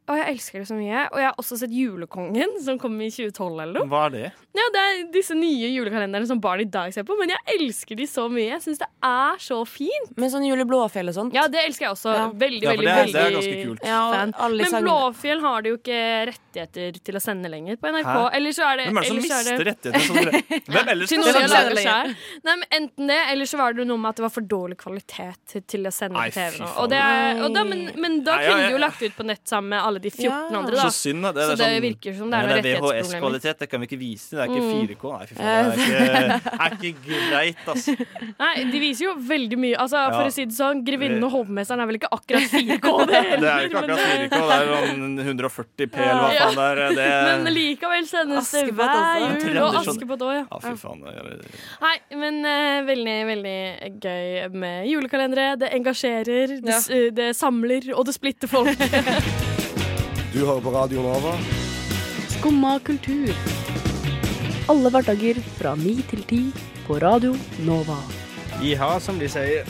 Speaker 3: og jeg elsker det så mye. Og jeg har også sett Julekongen, (laughs) som kom i 2012 eller noe.
Speaker 5: Hva er det?
Speaker 3: Ja, det er disse nye julekalenderne som barn i dag ser på, men jeg elsker de så mye. Jeg syns det er så fint.
Speaker 4: Med sånn Jul i Blåfjell og sånt.
Speaker 3: Ja, det elsker jeg også.
Speaker 4: Ja.
Speaker 3: Veldig,
Speaker 5: Ja, for
Speaker 3: veldig,
Speaker 5: det er, det er
Speaker 3: veldig
Speaker 5: ganske kult.
Speaker 4: Ja, og
Speaker 3: fan.
Speaker 4: alle
Speaker 3: Men
Speaker 4: sangene.
Speaker 3: Blåfjell har det jo ikke rettigheter til å sende lenger på NRK.
Speaker 5: Hæ?
Speaker 3: Eller så er det
Speaker 5: Hvem er det som
Speaker 3: eller så
Speaker 5: mister rettighetene?
Speaker 3: (laughs)
Speaker 5: sånn? Hvem ellers
Speaker 3: Til
Speaker 5: skal
Speaker 3: noen
Speaker 5: sende
Speaker 3: som
Speaker 5: det?
Speaker 3: lager seg. Nei, men Enten det, eller så var det noe med at det var for dårlig kvalitet til- til å sende
Speaker 5: Nei,
Speaker 3: på TV.
Speaker 5: fy
Speaker 3: nå.
Speaker 5: faen.
Speaker 3: Og det er, og da, men, men da
Speaker 5: Nei, ja,
Speaker 3: kunne de jo
Speaker 5: ja.
Speaker 3: lagt ut på nett sammen med alle de 14
Speaker 4: Ja.
Speaker 3: andre, da.
Speaker 5: Så synd, da. Det, er
Speaker 3: Så det
Speaker 5: sånn-
Speaker 3: virker som det er
Speaker 5: Nei,
Speaker 3: noen rettighetsproblemer. Mm.
Speaker 5: VHS-kvalitet, det kan vi ikke vise. Det er ikke 4K. Nei, fy faen,
Speaker 3: (laughs)
Speaker 5: det er ikke, er ikke greit, altså.
Speaker 3: Nei, de viser jo veldig mye. Altså,
Speaker 5: Ja.
Speaker 3: For å si det sånn, Grevinnen og hovmesteren er vel ikke akkurat 4K, det heller.
Speaker 5: (laughs) Det er
Speaker 3: (laughs)
Speaker 5: jo ikke akkurat 4K, det er sånn 140P eller hva faen det er. Det,
Speaker 3: eh, Men likevel sendes det
Speaker 4: Askepott altså.
Speaker 3: hver
Speaker 4: også.
Speaker 3: jul. Og
Speaker 5: Tradisjon.
Speaker 3: Askepott òg, ja.
Speaker 5: sånn. ja, fy faen. det er-
Speaker 3: Nei, men eh, veldig, veldig gøy med julekalendere. Det engasjerer, det, s- eh, det samler, og det splitter folk.
Speaker 1: Du hører på Radio Nova.
Speaker 7: Skumma kultur. Alle hverdager fra ni til ti på Radio Nova.
Speaker 8: Jiha, som de sier.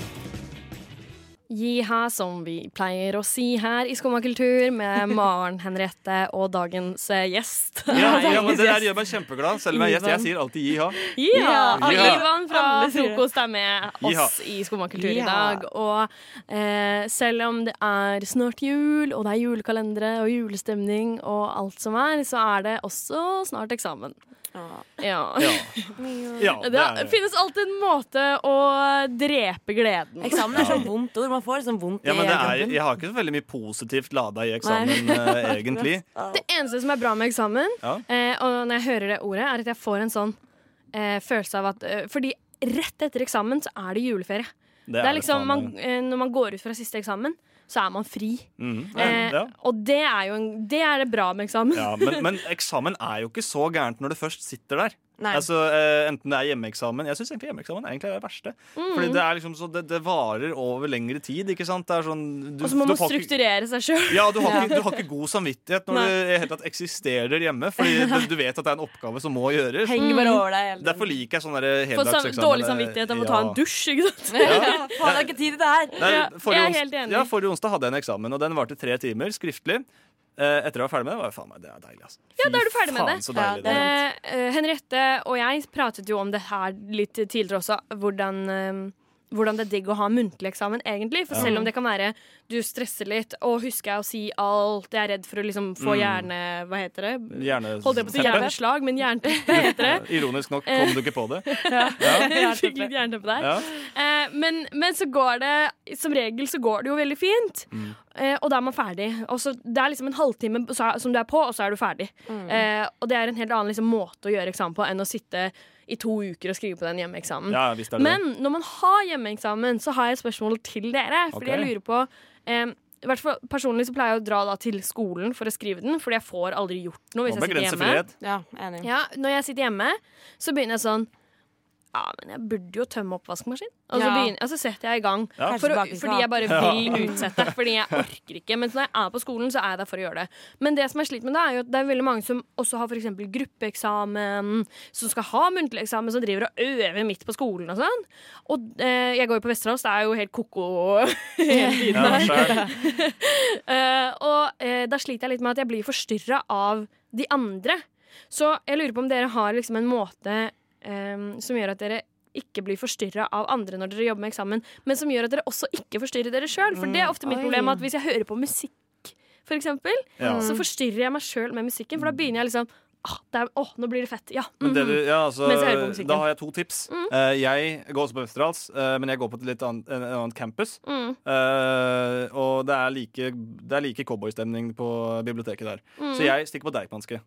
Speaker 3: Jiha, som vi pleier å si her i Skumma kultur,
Speaker 5: (laughs)
Speaker 3: med Maren Henriette og dagens eh, gjest.
Speaker 5: Ja, ja, men det der gjør meg kjempeglad, selv om jeg er gjest. Jeg sier alltid jiha.
Speaker 3: (laughs) Ja, og
Speaker 5: Ja.
Speaker 3: Ivan fra Frokost er med oss i Skumma kultur i
Speaker 8: Ja.
Speaker 3: dag. Og eh, selv om det er snart jul, og det er julekalendere og julestemning og alt som er, så er det også snart eksamen. Ja.
Speaker 5: Ja. ja,
Speaker 3: (laughs) Det,
Speaker 5: det er det.
Speaker 3: finnes alltid en måte å drepe gleden.
Speaker 4: Eksamen er sånn vondt ord. Man får liksom vondt
Speaker 5: Ja, men det er,
Speaker 4: kroppen.
Speaker 5: jeg har ikke så veldig mye positivt lada i eksamen,
Speaker 3: (laughs)
Speaker 5: eh, egentlig.
Speaker 3: Det eneste som er bra med eksamen,
Speaker 5: Ja.
Speaker 3: eh, og når jeg hører det ordet, er at jeg får en sånn eh, følelse av at eh, Fordi rett etter eksamen så er det juleferie. Det er liksom,
Speaker 5: faen
Speaker 3: man,
Speaker 5: meg.
Speaker 3: eh, når man går ut fra siste eksamen, så er man fri.
Speaker 5: Mhm.
Speaker 3: Eh,
Speaker 5: ja.
Speaker 3: Og det er jo en, det, er det bra med eksamen.
Speaker 5: Ja, men, men eksamen er jo ikke så gærent når du først sitter der.
Speaker 4: Nei.
Speaker 5: Altså, eh, Enten det er hjemmeeksamen Jeg syns egentlig hjemmeeksamen er egentlig det verste.
Speaker 3: Mm.
Speaker 5: Fordi det er liksom så det, det varer over lengre tid. ikke sant? Det er sånn
Speaker 3: (laughs)
Speaker 5: du,
Speaker 3: Og så må
Speaker 5: du
Speaker 3: man
Speaker 5: får ikke-
Speaker 3: strukturere seg sjøl.
Speaker 5: Ja, du har, ikke, du har ikke god samvittighet når du i det hele tatt eksisterer hjemme.
Speaker 3: (laughs)
Speaker 5: Fordi du, du vet at det er en oppgave som må gjøres.
Speaker 4: Henger bare over deg hele
Speaker 5: Derfor liker jeg sånn der
Speaker 3: Få sam
Speaker 5: heldagseksamen.
Speaker 3: dårlig samvittighet av å ta en
Speaker 5: eh, Ja.
Speaker 3: dusj, ikke
Speaker 5: (laughs)
Speaker 3: sant.
Speaker 4: Ja. (laughs) Faen, jeg har ikke tid til det her.
Speaker 5: Nei,
Speaker 3: Ja,
Speaker 5: forrige
Speaker 3: jeg er
Speaker 5: ons-
Speaker 3: helt enig.
Speaker 5: Ja, forrige onsdag hadde jeg en eksamen, og den varte tre timer skriftlig. Eh, etter jeg var ferdig med det, var jeg faen meg, det er deilig. Altså.
Speaker 3: Ja, da er du ferdig med det.
Speaker 5: Så
Speaker 4: Ja,
Speaker 5: deilig,
Speaker 4: det
Speaker 5: det.
Speaker 4: er-
Speaker 3: Eh, eh, Henriette og jeg pratet jo om det her litt tidligere også, hvordan eh, hvordan det er digg å ha muntlig eksamen, egentlig. For selv om det kan være du stresser litt, og husker jeg å si alt, jeg er redd for å liksom få
Speaker 4: Mm.
Speaker 3: hjerne... Hva heter det?
Speaker 5: Gjerne
Speaker 3: Holdt jeg på å si
Speaker 5: teppe.
Speaker 3: hjerneslag, men jernteppe heter det.
Speaker 5: Ja, Ironisk nok kom du ikke på det.
Speaker 3: Eh.
Speaker 5: (laughs)
Speaker 3: Jeg fikk litt jernteppe der.
Speaker 5: Ja.
Speaker 3: Eh, men, men så går det Som regel så går det jo veldig fint.
Speaker 5: Mm.
Speaker 3: Eh, og da er man ferdig. Og så, det er liksom en halvtime så er- som du er på, og så er du ferdig.
Speaker 5: Mm.
Speaker 3: Eh, og det er en helt annen liksom, måte å gjøre eksamen på enn å sitte i to uker og skrive på den hjemmeeksamen.
Speaker 5: Ja, visst er det det.
Speaker 3: Men når man har hjemmeeksamen, så har jeg et spørsmål til dere. Fordi
Speaker 5: Ok.
Speaker 3: jeg lurer på eh, i hvert fall Personlig så pleier jeg å dra da, til skolen for å skrive den, fordi jeg får aldri gjort noe hvis
Speaker 5: Må
Speaker 3: jeg sitter
Speaker 5: begrense
Speaker 3: hjemme.
Speaker 5: frihet.
Speaker 4: Ja, enig.
Speaker 3: Ja, når jeg sitter hjemme, så begynner jeg sånn ja, men jeg burde jo tømme oppvaskmaskinen. Og så,
Speaker 4: Ja.
Speaker 3: begynner, og så setter jeg i gang.
Speaker 5: Ja.
Speaker 3: For, å-
Speaker 4: Kanskje tilbake
Speaker 3: fordi jeg bare vil utsette. Fordi jeg orker ikke. Mens når jeg er på skolen, så er jeg der for å gjøre det. Men det som jeg sliter med, da, er jo at det er veldig mange som også har for eksempel gruppeeksamen, som skal ha muntlig eksamen, som driver og øver midt på skolen og sånn. Og eh, jeg går jo på Vesterålen, så det er jo helt ko-ko (laughs) hele tiden.
Speaker 5: Ja,
Speaker 3: (laughs)
Speaker 5: skjær.
Speaker 3: Eh, og eh, da sliter jeg litt med at jeg blir forstyrra av de andre. Så jeg lurer på om dere har liksom en måte eh, som gjør at dere ikke blir forstyrra av andre når dere jobber med eksamen, men som gjør at dere også ikke forstyrrer dere sjøl. For det er ofte mitt
Speaker 7: Oi.
Speaker 3: problem at hvis jeg hører på musikk, for eksempel,
Speaker 5: Ja.
Speaker 3: så forstyrrer jeg meg sjøl med musikken, for da begynner jeg liksom Åh, det er, åh, nå blir det fett. Ja.
Speaker 5: Men det du,
Speaker 3: mhm.
Speaker 5: ja, altså,
Speaker 3: Mens jeg hører på musikken.
Speaker 5: da har jeg to tips. Eh, jeg går også på Westerdals, eh, men jeg går på et litt annet, en, en annen campus.
Speaker 3: Mm.
Speaker 5: Eh, og det er like, det er like cowboystemning på biblioteket der. Så jeg stikker på Deichmanske.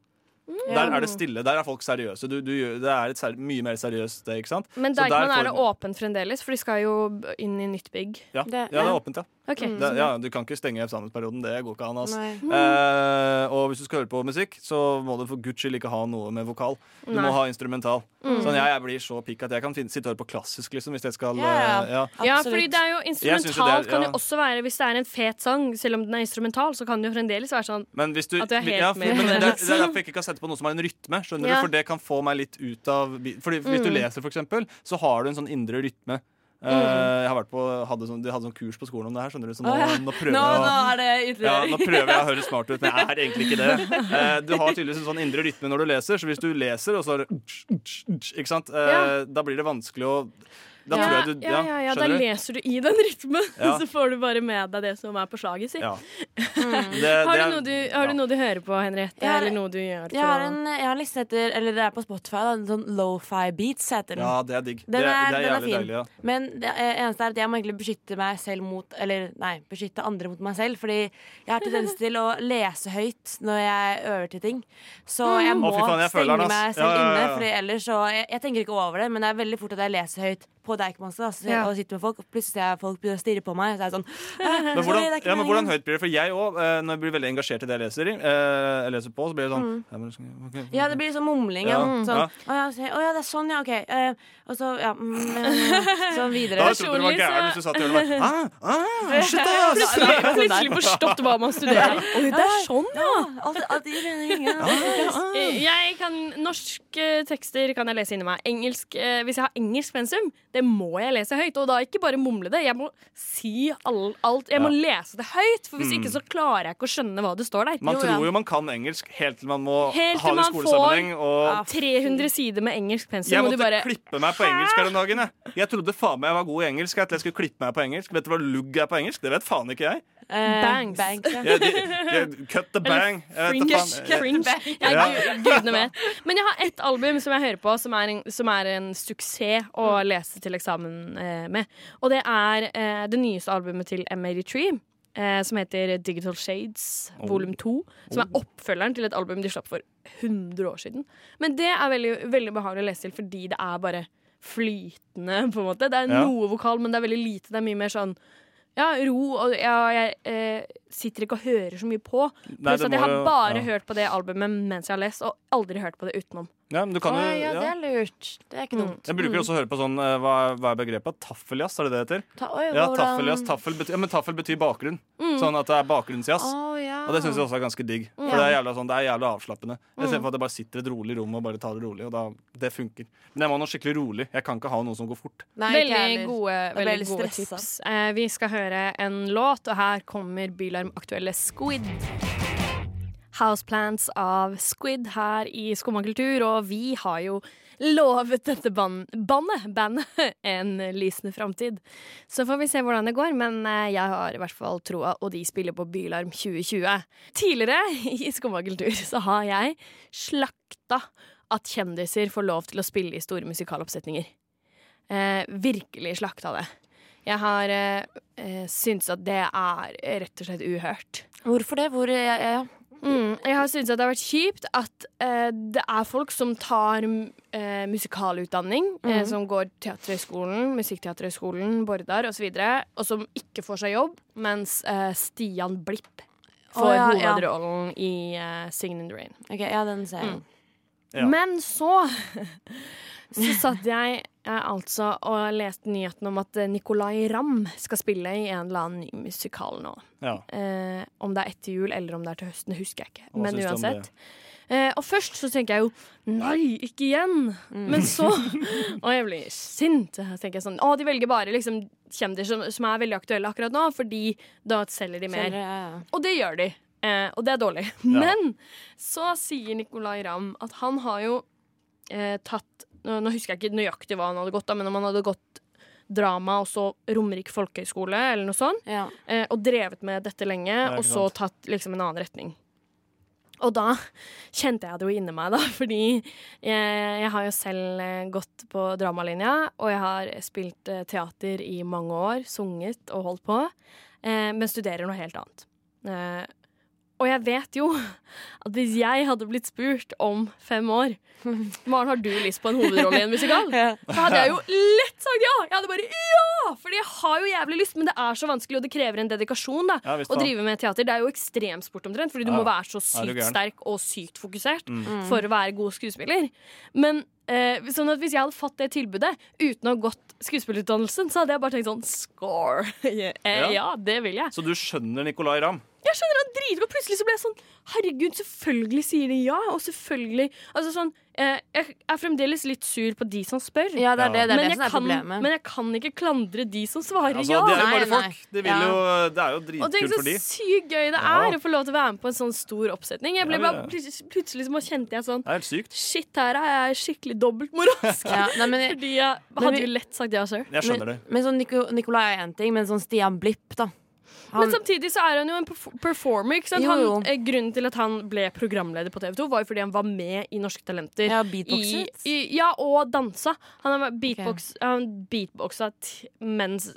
Speaker 5: Der er det stille. Der er folk seriøse. Du, du, gjør- det er et ser, mye mer seriøst sted, ikke sant?
Speaker 3: Men
Speaker 5: Så der
Speaker 3: Deichman
Speaker 5: får
Speaker 3: er det
Speaker 5: du-
Speaker 3: åpent fremdeles, for de skal jo b- inn i nytt bygg.
Speaker 5: Ja,
Speaker 4: Det-
Speaker 5: ja det er åpent, ja.
Speaker 3: Ok,
Speaker 5: Det, ja. Du kan ikke stenge eksamensperioden. Det går ikke an. Altså.
Speaker 4: Nei.
Speaker 5: Eh, og hvis du skal høre på musikk, så må du for guds skyld ikke ha noe med vokal. Du
Speaker 3: Nei. Mm.
Speaker 5: må ha instrumental. Sånn, jeg, jeg blir så pikk at jeg kan finne, sitte og høre på klassisk liksom, hvis jeg skal
Speaker 4: Ja, ja.
Speaker 5: eh, ja.
Speaker 3: Ja,
Speaker 4: Absolutt.
Speaker 3: fordi det er jo
Speaker 5: synes jo det er-
Speaker 3: Instrumentalt kan jo
Speaker 5: ja.
Speaker 3: også være Hvis det er en fet sang, selv om den er instrumental, så kan det jo fremdeles være sånn
Speaker 5: Men hvis du,
Speaker 3: At du er helt
Speaker 5: ja, for-
Speaker 3: med
Speaker 5: men
Speaker 3: på
Speaker 5: det,
Speaker 3: det,
Speaker 5: er- det er derfor jeg ikke kan sette på noe som er en rytme. Skjønner
Speaker 3: Ja. Mm.
Speaker 5: du? For det kan få meg litt ut av bi- Fordi Hvis du leser, for eksempel, så har du en sånn indre rytme. Eh,
Speaker 3: Mm.
Speaker 5: jeg har vært på, hadde sånn, de hadde sånn kurs på skolen om det her, skjønner du. Så nå,
Speaker 4: Å, ja.
Speaker 5: nå prøver
Speaker 4: Nå,
Speaker 5: jeg å
Speaker 4: nå er det
Speaker 5: Ja,
Speaker 4: utlevering.
Speaker 5: nå prøver jeg å høre smart ut, men jeg er egentlig
Speaker 3: (laughs)
Speaker 5: ikke det. Eh, du har tydeligvis en sånn indre rytme når du leser, så hvis du leser, og så er det Ikke sant? Eh,
Speaker 3: Ja.
Speaker 5: Da blir det vanskelig å Da
Speaker 3: ja,
Speaker 5: tror jeg du
Speaker 3: ja, ja, ja, da
Speaker 5: skjønner du?
Speaker 3: leser du i den rytmen, (laughs)
Speaker 5: Ja.
Speaker 3: så får du bare med deg det som er på slaget sitt.
Speaker 5: Ja. Det,
Speaker 3: Mm. Har,
Speaker 5: det
Speaker 3: du
Speaker 5: er-
Speaker 3: noe du, har
Speaker 5: ja.
Speaker 3: du noe du hører på, Henriette?
Speaker 4: Jeg har-
Speaker 3: eller noe du gjør? for
Speaker 4: Jeg har
Speaker 3: å- (laughs)
Speaker 4: en, jeg har en liste etter Eller det er på Spotify, da. En sånn lo-fi beats heter den.
Speaker 5: Ja, det er digg.
Speaker 4: Den er-
Speaker 5: det, det er
Speaker 4: den er
Speaker 5: jævlig
Speaker 4: fin.
Speaker 5: deilig. Ja.
Speaker 4: Men det eh, eneste er at jeg må egentlig beskytte meg selv mot Eller nei, beskytte andre mot meg selv. Fordi jeg har
Speaker 5: (laughs)
Speaker 4: tendens til å lese høyt når jeg øver til ting. Så jeg må
Speaker 5: Mm. Å, fy faen, jeg
Speaker 4: stenge
Speaker 5: føler den, ass.
Speaker 4: meg selv
Speaker 5: Ja, ja, ja, ja.
Speaker 4: inne. Fordi ellers så jeg, jeg tenker ikke over det, men det er veldig fort at jeg leser høyt på Deichmanske ass,
Speaker 3: Ja.
Speaker 4: og sitter med folk, og plutselig er folk begynner å stirre på meg. Så er
Speaker 5: (laughs)
Speaker 4: jeg sånn «Æ,
Speaker 5: Men
Speaker 4: sorry,
Speaker 5: hvordan,
Speaker 4: det er ikke
Speaker 5: ja, men
Speaker 4: meningen».
Speaker 5: hvordan høyt blir det? For jeg òg, når jeg blir veldig engasjert i det jeg leser, i, eh, jeg leser på, så blir det sånn
Speaker 3: Mm.
Speaker 5: ja, men, ok, ok.
Speaker 4: Ja, det blir sånn mumling. Ja.
Speaker 5: Ja,
Speaker 4: Sånn,
Speaker 5: ja.
Speaker 4: Å, ja, se- å ja, det er sånn, ja, OK. eh, og så ja, mm,
Speaker 5: (laughs)
Speaker 4: eh, sånn videre.
Speaker 5: Da hadde jeg trodd du var
Speaker 3: personlig så-
Speaker 5: gæren hvis du satt i hjørnet og bare
Speaker 3: (laughs)
Speaker 5: ah, ah, shit, ass!
Speaker 3: Plutselig, plutselig forstått hva man studerer. Oi, det er sånn, ja!
Speaker 4: Alt, alt i
Speaker 5: (laughs) Ah,
Speaker 4: meningen.
Speaker 3: Eh, Jeg kan, norske tekster kan jeg lese inni meg. Engelsk, eh, hvis jeg har engelsk pensum, det må jeg lese høyt. Og da ikke bare mumle det, jeg må si all, alt. Jeg må lese det høyt, for hvis ikke så klarer jeg ikke å skjønne hva det står der.
Speaker 5: Mm. Man
Speaker 4: Jo, ja.
Speaker 5: tror jo man kan engelsk helt til man må
Speaker 3: Helt til
Speaker 5: ha det i
Speaker 3: man får-
Speaker 5: skolesammenheng. Og
Speaker 3: 300 sider med engelsk pensum,
Speaker 5: jeg
Speaker 3: og du
Speaker 5: måtte
Speaker 3: bare
Speaker 5: klippe meg på engelsk her om dagen. Jeg. jeg trodde faen meg jeg var god i engelsk. At jeg skulle klippe meg på engelsk Vet du hva lugg er på engelsk? Det vet faen ikke jeg.
Speaker 4: Eh,
Speaker 3: (laughs) Bangs.
Speaker 4: ja.
Speaker 5: jeg, jeg
Speaker 4: (laughs)
Speaker 5: cut the bang. Jeg vet
Speaker 3: Fringe.
Speaker 5: da Eh, faen.
Speaker 3: Cringe. Ja,
Speaker 5: Ja.
Speaker 3: gu- gudene vet. Men jeg har ett album som jeg hører på, som er en, som er en suksess å lese til eksamen eh, med. Og det er eh, det nyeste albumet til M83. Eh, som heter Digital Shades
Speaker 5: Oh.
Speaker 3: volum 2. Som er oppfølgeren til et album de slapp for 100 år siden. Men det er veldig, veldig behagelig å lese til fordi det er bare flytende, på en måte. Det er
Speaker 5: Ja.
Speaker 3: noe vokal, men det er veldig lite. Det er mye mer sånn ja, ro, og ja, jeg eh, sitter ikke og hører så mye på.
Speaker 5: Nei,
Speaker 3: Pluss
Speaker 5: det
Speaker 3: at jeg
Speaker 5: må
Speaker 3: har
Speaker 5: jo-
Speaker 3: bare
Speaker 5: ja.
Speaker 3: hørt på det albumet mens jeg har lest, og aldri hørt på det utenom.
Speaker 5: Ja, men du kan jo
Speaker 4: Oi, ja, det
Speaker 5: ja.
Speaker 4: er lurt. Det er ikke dumt.
Speaker 5: Jeg bruker også å høre på sånn eh, Hva er, hva er begrepet? Taffeljazz, er det det det heter?
Speaker 4: Ta, oi,
Speaker 5: Ja,
Speaker 4: hvordan- Mm.
Speaker 5: taffel, jazz. Taffel betyr, ja, men taffel betyr bakgrunn. Sånn at det er bakgrunnsjazz.
Speaker 4: Å, ja.
Speaker 5: Og det syns jeg også er ganske digg. For det er jævla, sånn, det er jævla avslappende.
Speaker 4: Mm.
Speaker 5: Istedenfor at jeg bare sitter i et rolig rom og bare tar det rolig. Og da, det funker. Men jeg må ha noe skikkelig rolig. Jeg kan ikke ha noe som går fort.
Speaker 4: Nei, ikke jeg
Speaker 3: Veldig
Speaker 4: heller.
Speaker 3: gode,
Speaker 4: Da ble jeg
Speaker 3: veldig
Speaker 4: litt
Speaker 3: gode
Speaker 4: stressa.
Speaker 3: tips. Eh, vi skal høre en låt, og her kommer Bylarm aktuelle Squid. Houseplants av Squid her i Skumma kultur, og vi har jo lovet dette ban bandet, bandet (laughs) en lysende framtid. Så får vi se hvordan det går, men eh, jeg har i hvert fall troa, og de spiller på Bylarm 2020. Tidligere i Skumma kultur så har jeg slakta at kjendiser får lov til å spille i store musikaloppsetninger eh, virkelig slakta det. Jeg har eh, eh, syntes at det er rett og slett uhørt.
Speaker 4: Hvorfor det? Hvor, ja, ja, ja.
Speaker 3: Mm, jeg har syntes at det har vært kjipt at eh, det er folk som tar mm, eh, musikalutdanning, eh, som går Teaterhøgskolen, Musikkteaterhøgskolen, Bordar osv., og som ikke får seg jobb, mens eh, Stian Blipp får
Speaker 4: Å, ja, ja.
Speaker 3: hovedrollen i eh, Singin' in the Rain.
Speaker 4: Ok, ja, den ser
Speaker 3: Mm.
Speaker 4: jeg.
Speaker 5: Ja.
Speaker 3: Men så (laughs) Så satt jeg eh, altså og leste nyheten om at eh, Nicolay Ramm skal spille i en eller annen ny musikal nå.
Speaker 5: Ja.
Speaker 3: Eh, om det er etter jul eller om det er til høsten, det husker jeg ikke.
Speaker 5: Hva
Speaker 3: Men
Speaker 5: syns du om
Speaker 3: uansett. Eh, og først så tenker jeg jo nei, ikke igjen. Men så Og jeg blir sint. Så tenker jeg sånn, Å, de velger bare liksom kjendiser som, som er veldig aktuelle akkurat nå, fordi da selger de mer.
Speaker 4: Ser, ja, ja.
Speaker 3: Og det gjør de. Eh, og det er dårlig. Men så sier Nicolay Ramm at han har jo eh, tatt nå, nå husker jeg ikke nøyaktig hva han hadde gått, da, men om han hadde gått drama og så Romerike folkehøgskole eller noe sånt,
Speaker 4: Ja.
Speaker 3: eh, og drevet med dette lenge,
Speaker 5: ikke
Speaker 3: og så tatt liksom en annen retning. Og da kjente jeg det jo inni meg, da, (laughs) fordi jeg, jeg har jo selv eh, gått på dramalinja, og jeg har spilt eh, teater i mange år, sunget og holdt på, eh, men studerer noe helt annet. Eh, og jeg vet jo at hvis jeg hadde blitt spurt om fem år Maren, har du lyst på en hovedrolle i en musikal?
Speaker 4: Ja.
Speaker 3: Så hadde jeg jo lett sagt ja! Jeg hadde bare ja! Fordi jeg har jo jævlig lyst, men det er så vanskelig, og det krever en dedikasjon da,
Speaker 5: Ja, visst
Speaker 3: å
Speaker 5: faen.
Speaker 3: drive med teater. Det er jo ekstremsport omtrent, fordi du
Speaker 5: Ja.
Speaker 3: må være så
Speaker 5: Er du
Speaker 3: sykt
Speaker 5: gæren? Mm.
Speaker 3: sterk og sykt fokusert for å være god skuespiller. Men eh, sånn at hvis jeg hadde fått det tilbudet uten å ha gått skuespillerutdannelsen, så hadde jeg bare tenkt sånn score! (laughs) ja, eh,
Speaker 5: Ja.
Speaker 3: ja, det vil jeg.
Speaker 5: Så du skjønner Nicolay Ramm?
Speaker 3: Jeg skjønner han driter på Plutselig så ble jeg sånn Herregud, selvfølgelig sier de ja Og selvfølgelig Altså sånn eh, Jeg er fremdeles litt sur på de som spør
Speaker 4: ja, det er det, det, er
Speaker 3: men,
Speaker 4: det
Speaker 3: jeg
Speaker 4: som er
Speaker 3: kan,
Speaker 4: problemet.
Speaker 3: men jeg kan ikke klandre de som svarer
Speaker 5: Altså,
Speaker 3: ja
Speaker 5: de er jo
Speaker 4: nei,
Speaker 5: bare
Speaker 4: nei.
Speaker 5: folk. De vil
Speaker 4: Ja.
Speaker 5: jo, det er jo
Speaker 3: og tenk
Speaker 5: dritkult
Speaker 3: så
Speaker 5: for de.
Speaker 3: sykt gøy det
Speaker 5: Ja.
Speaker 3: er Å få lov til å være med på en sånn stor oppsetning Jeg ble
Speaker 5: Ja,
Speaker 3: bare
Speaker 5: det er
Speaker 3: plut- Plutselig så bare kjente jeg sånn
Speaker 5: Det er helt sykt.
Speaker 3: Shit, her er jeg skikkelig dobbelt
Speaker 5: (laughs)
Speaker 3: moralsk
Speaker 4: ja, nei, men jeg,
Speaker 3: Fordi jeg
Speaker 4: Men
Speaker 3: hadde
Speaker 4: vi-
Speaker 3: jo lett sagt ja selv
Speaker 5: Jeg skjønner det.
Speaker 4: men sånn Nico, Nicolai er én ting, men sånn Stian Blipp, da. Han,
Speaker 3: Men samtidig så er han jo en perf- performer. Ikke sant?
Speaker 4: Jo, jo.
Speaker 3: Han, eh, grunnen til at han ble programleder på TV 2, var jo fordi han var med i Norske Talenter.
Speaker 4: Ja,
Speaker 3: i,
Speaker 4: beatboxet.
Speaker 3: i, ja og dansa. Han har vært beatbox, han beatboxa t mens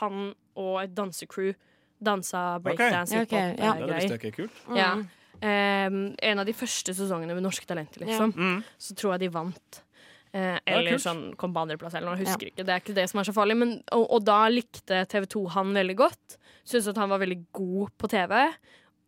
Speaker 3: han og et dansecrew dansa breakdance.
Speaker 4: Ja,
Speaker 3: hiphop,
Speaker 4: ok, ja.
Speaker 3: eh,
Speaker 5: Det
Speaker 3: greier.
Speaker 5: visste jeg ikke. Kult.
Speaker 3: Ja.
Speaker 4: Mm.
Speaker 3: Ehm, en av de første sesongene med Norske Talenter, liksom.
Speaker 5: Mm.
Speaker 3: Så tror jeg de vant. Eh, eller
Speaker 5: kult.
Speaker 3: sånn kom på andreplass eller noe. Jeg husker ikke. Det er ikke det som er så farlig. Men, og, og da likte TV 2 han veldig godt. Syntes at han var veldig god på TV.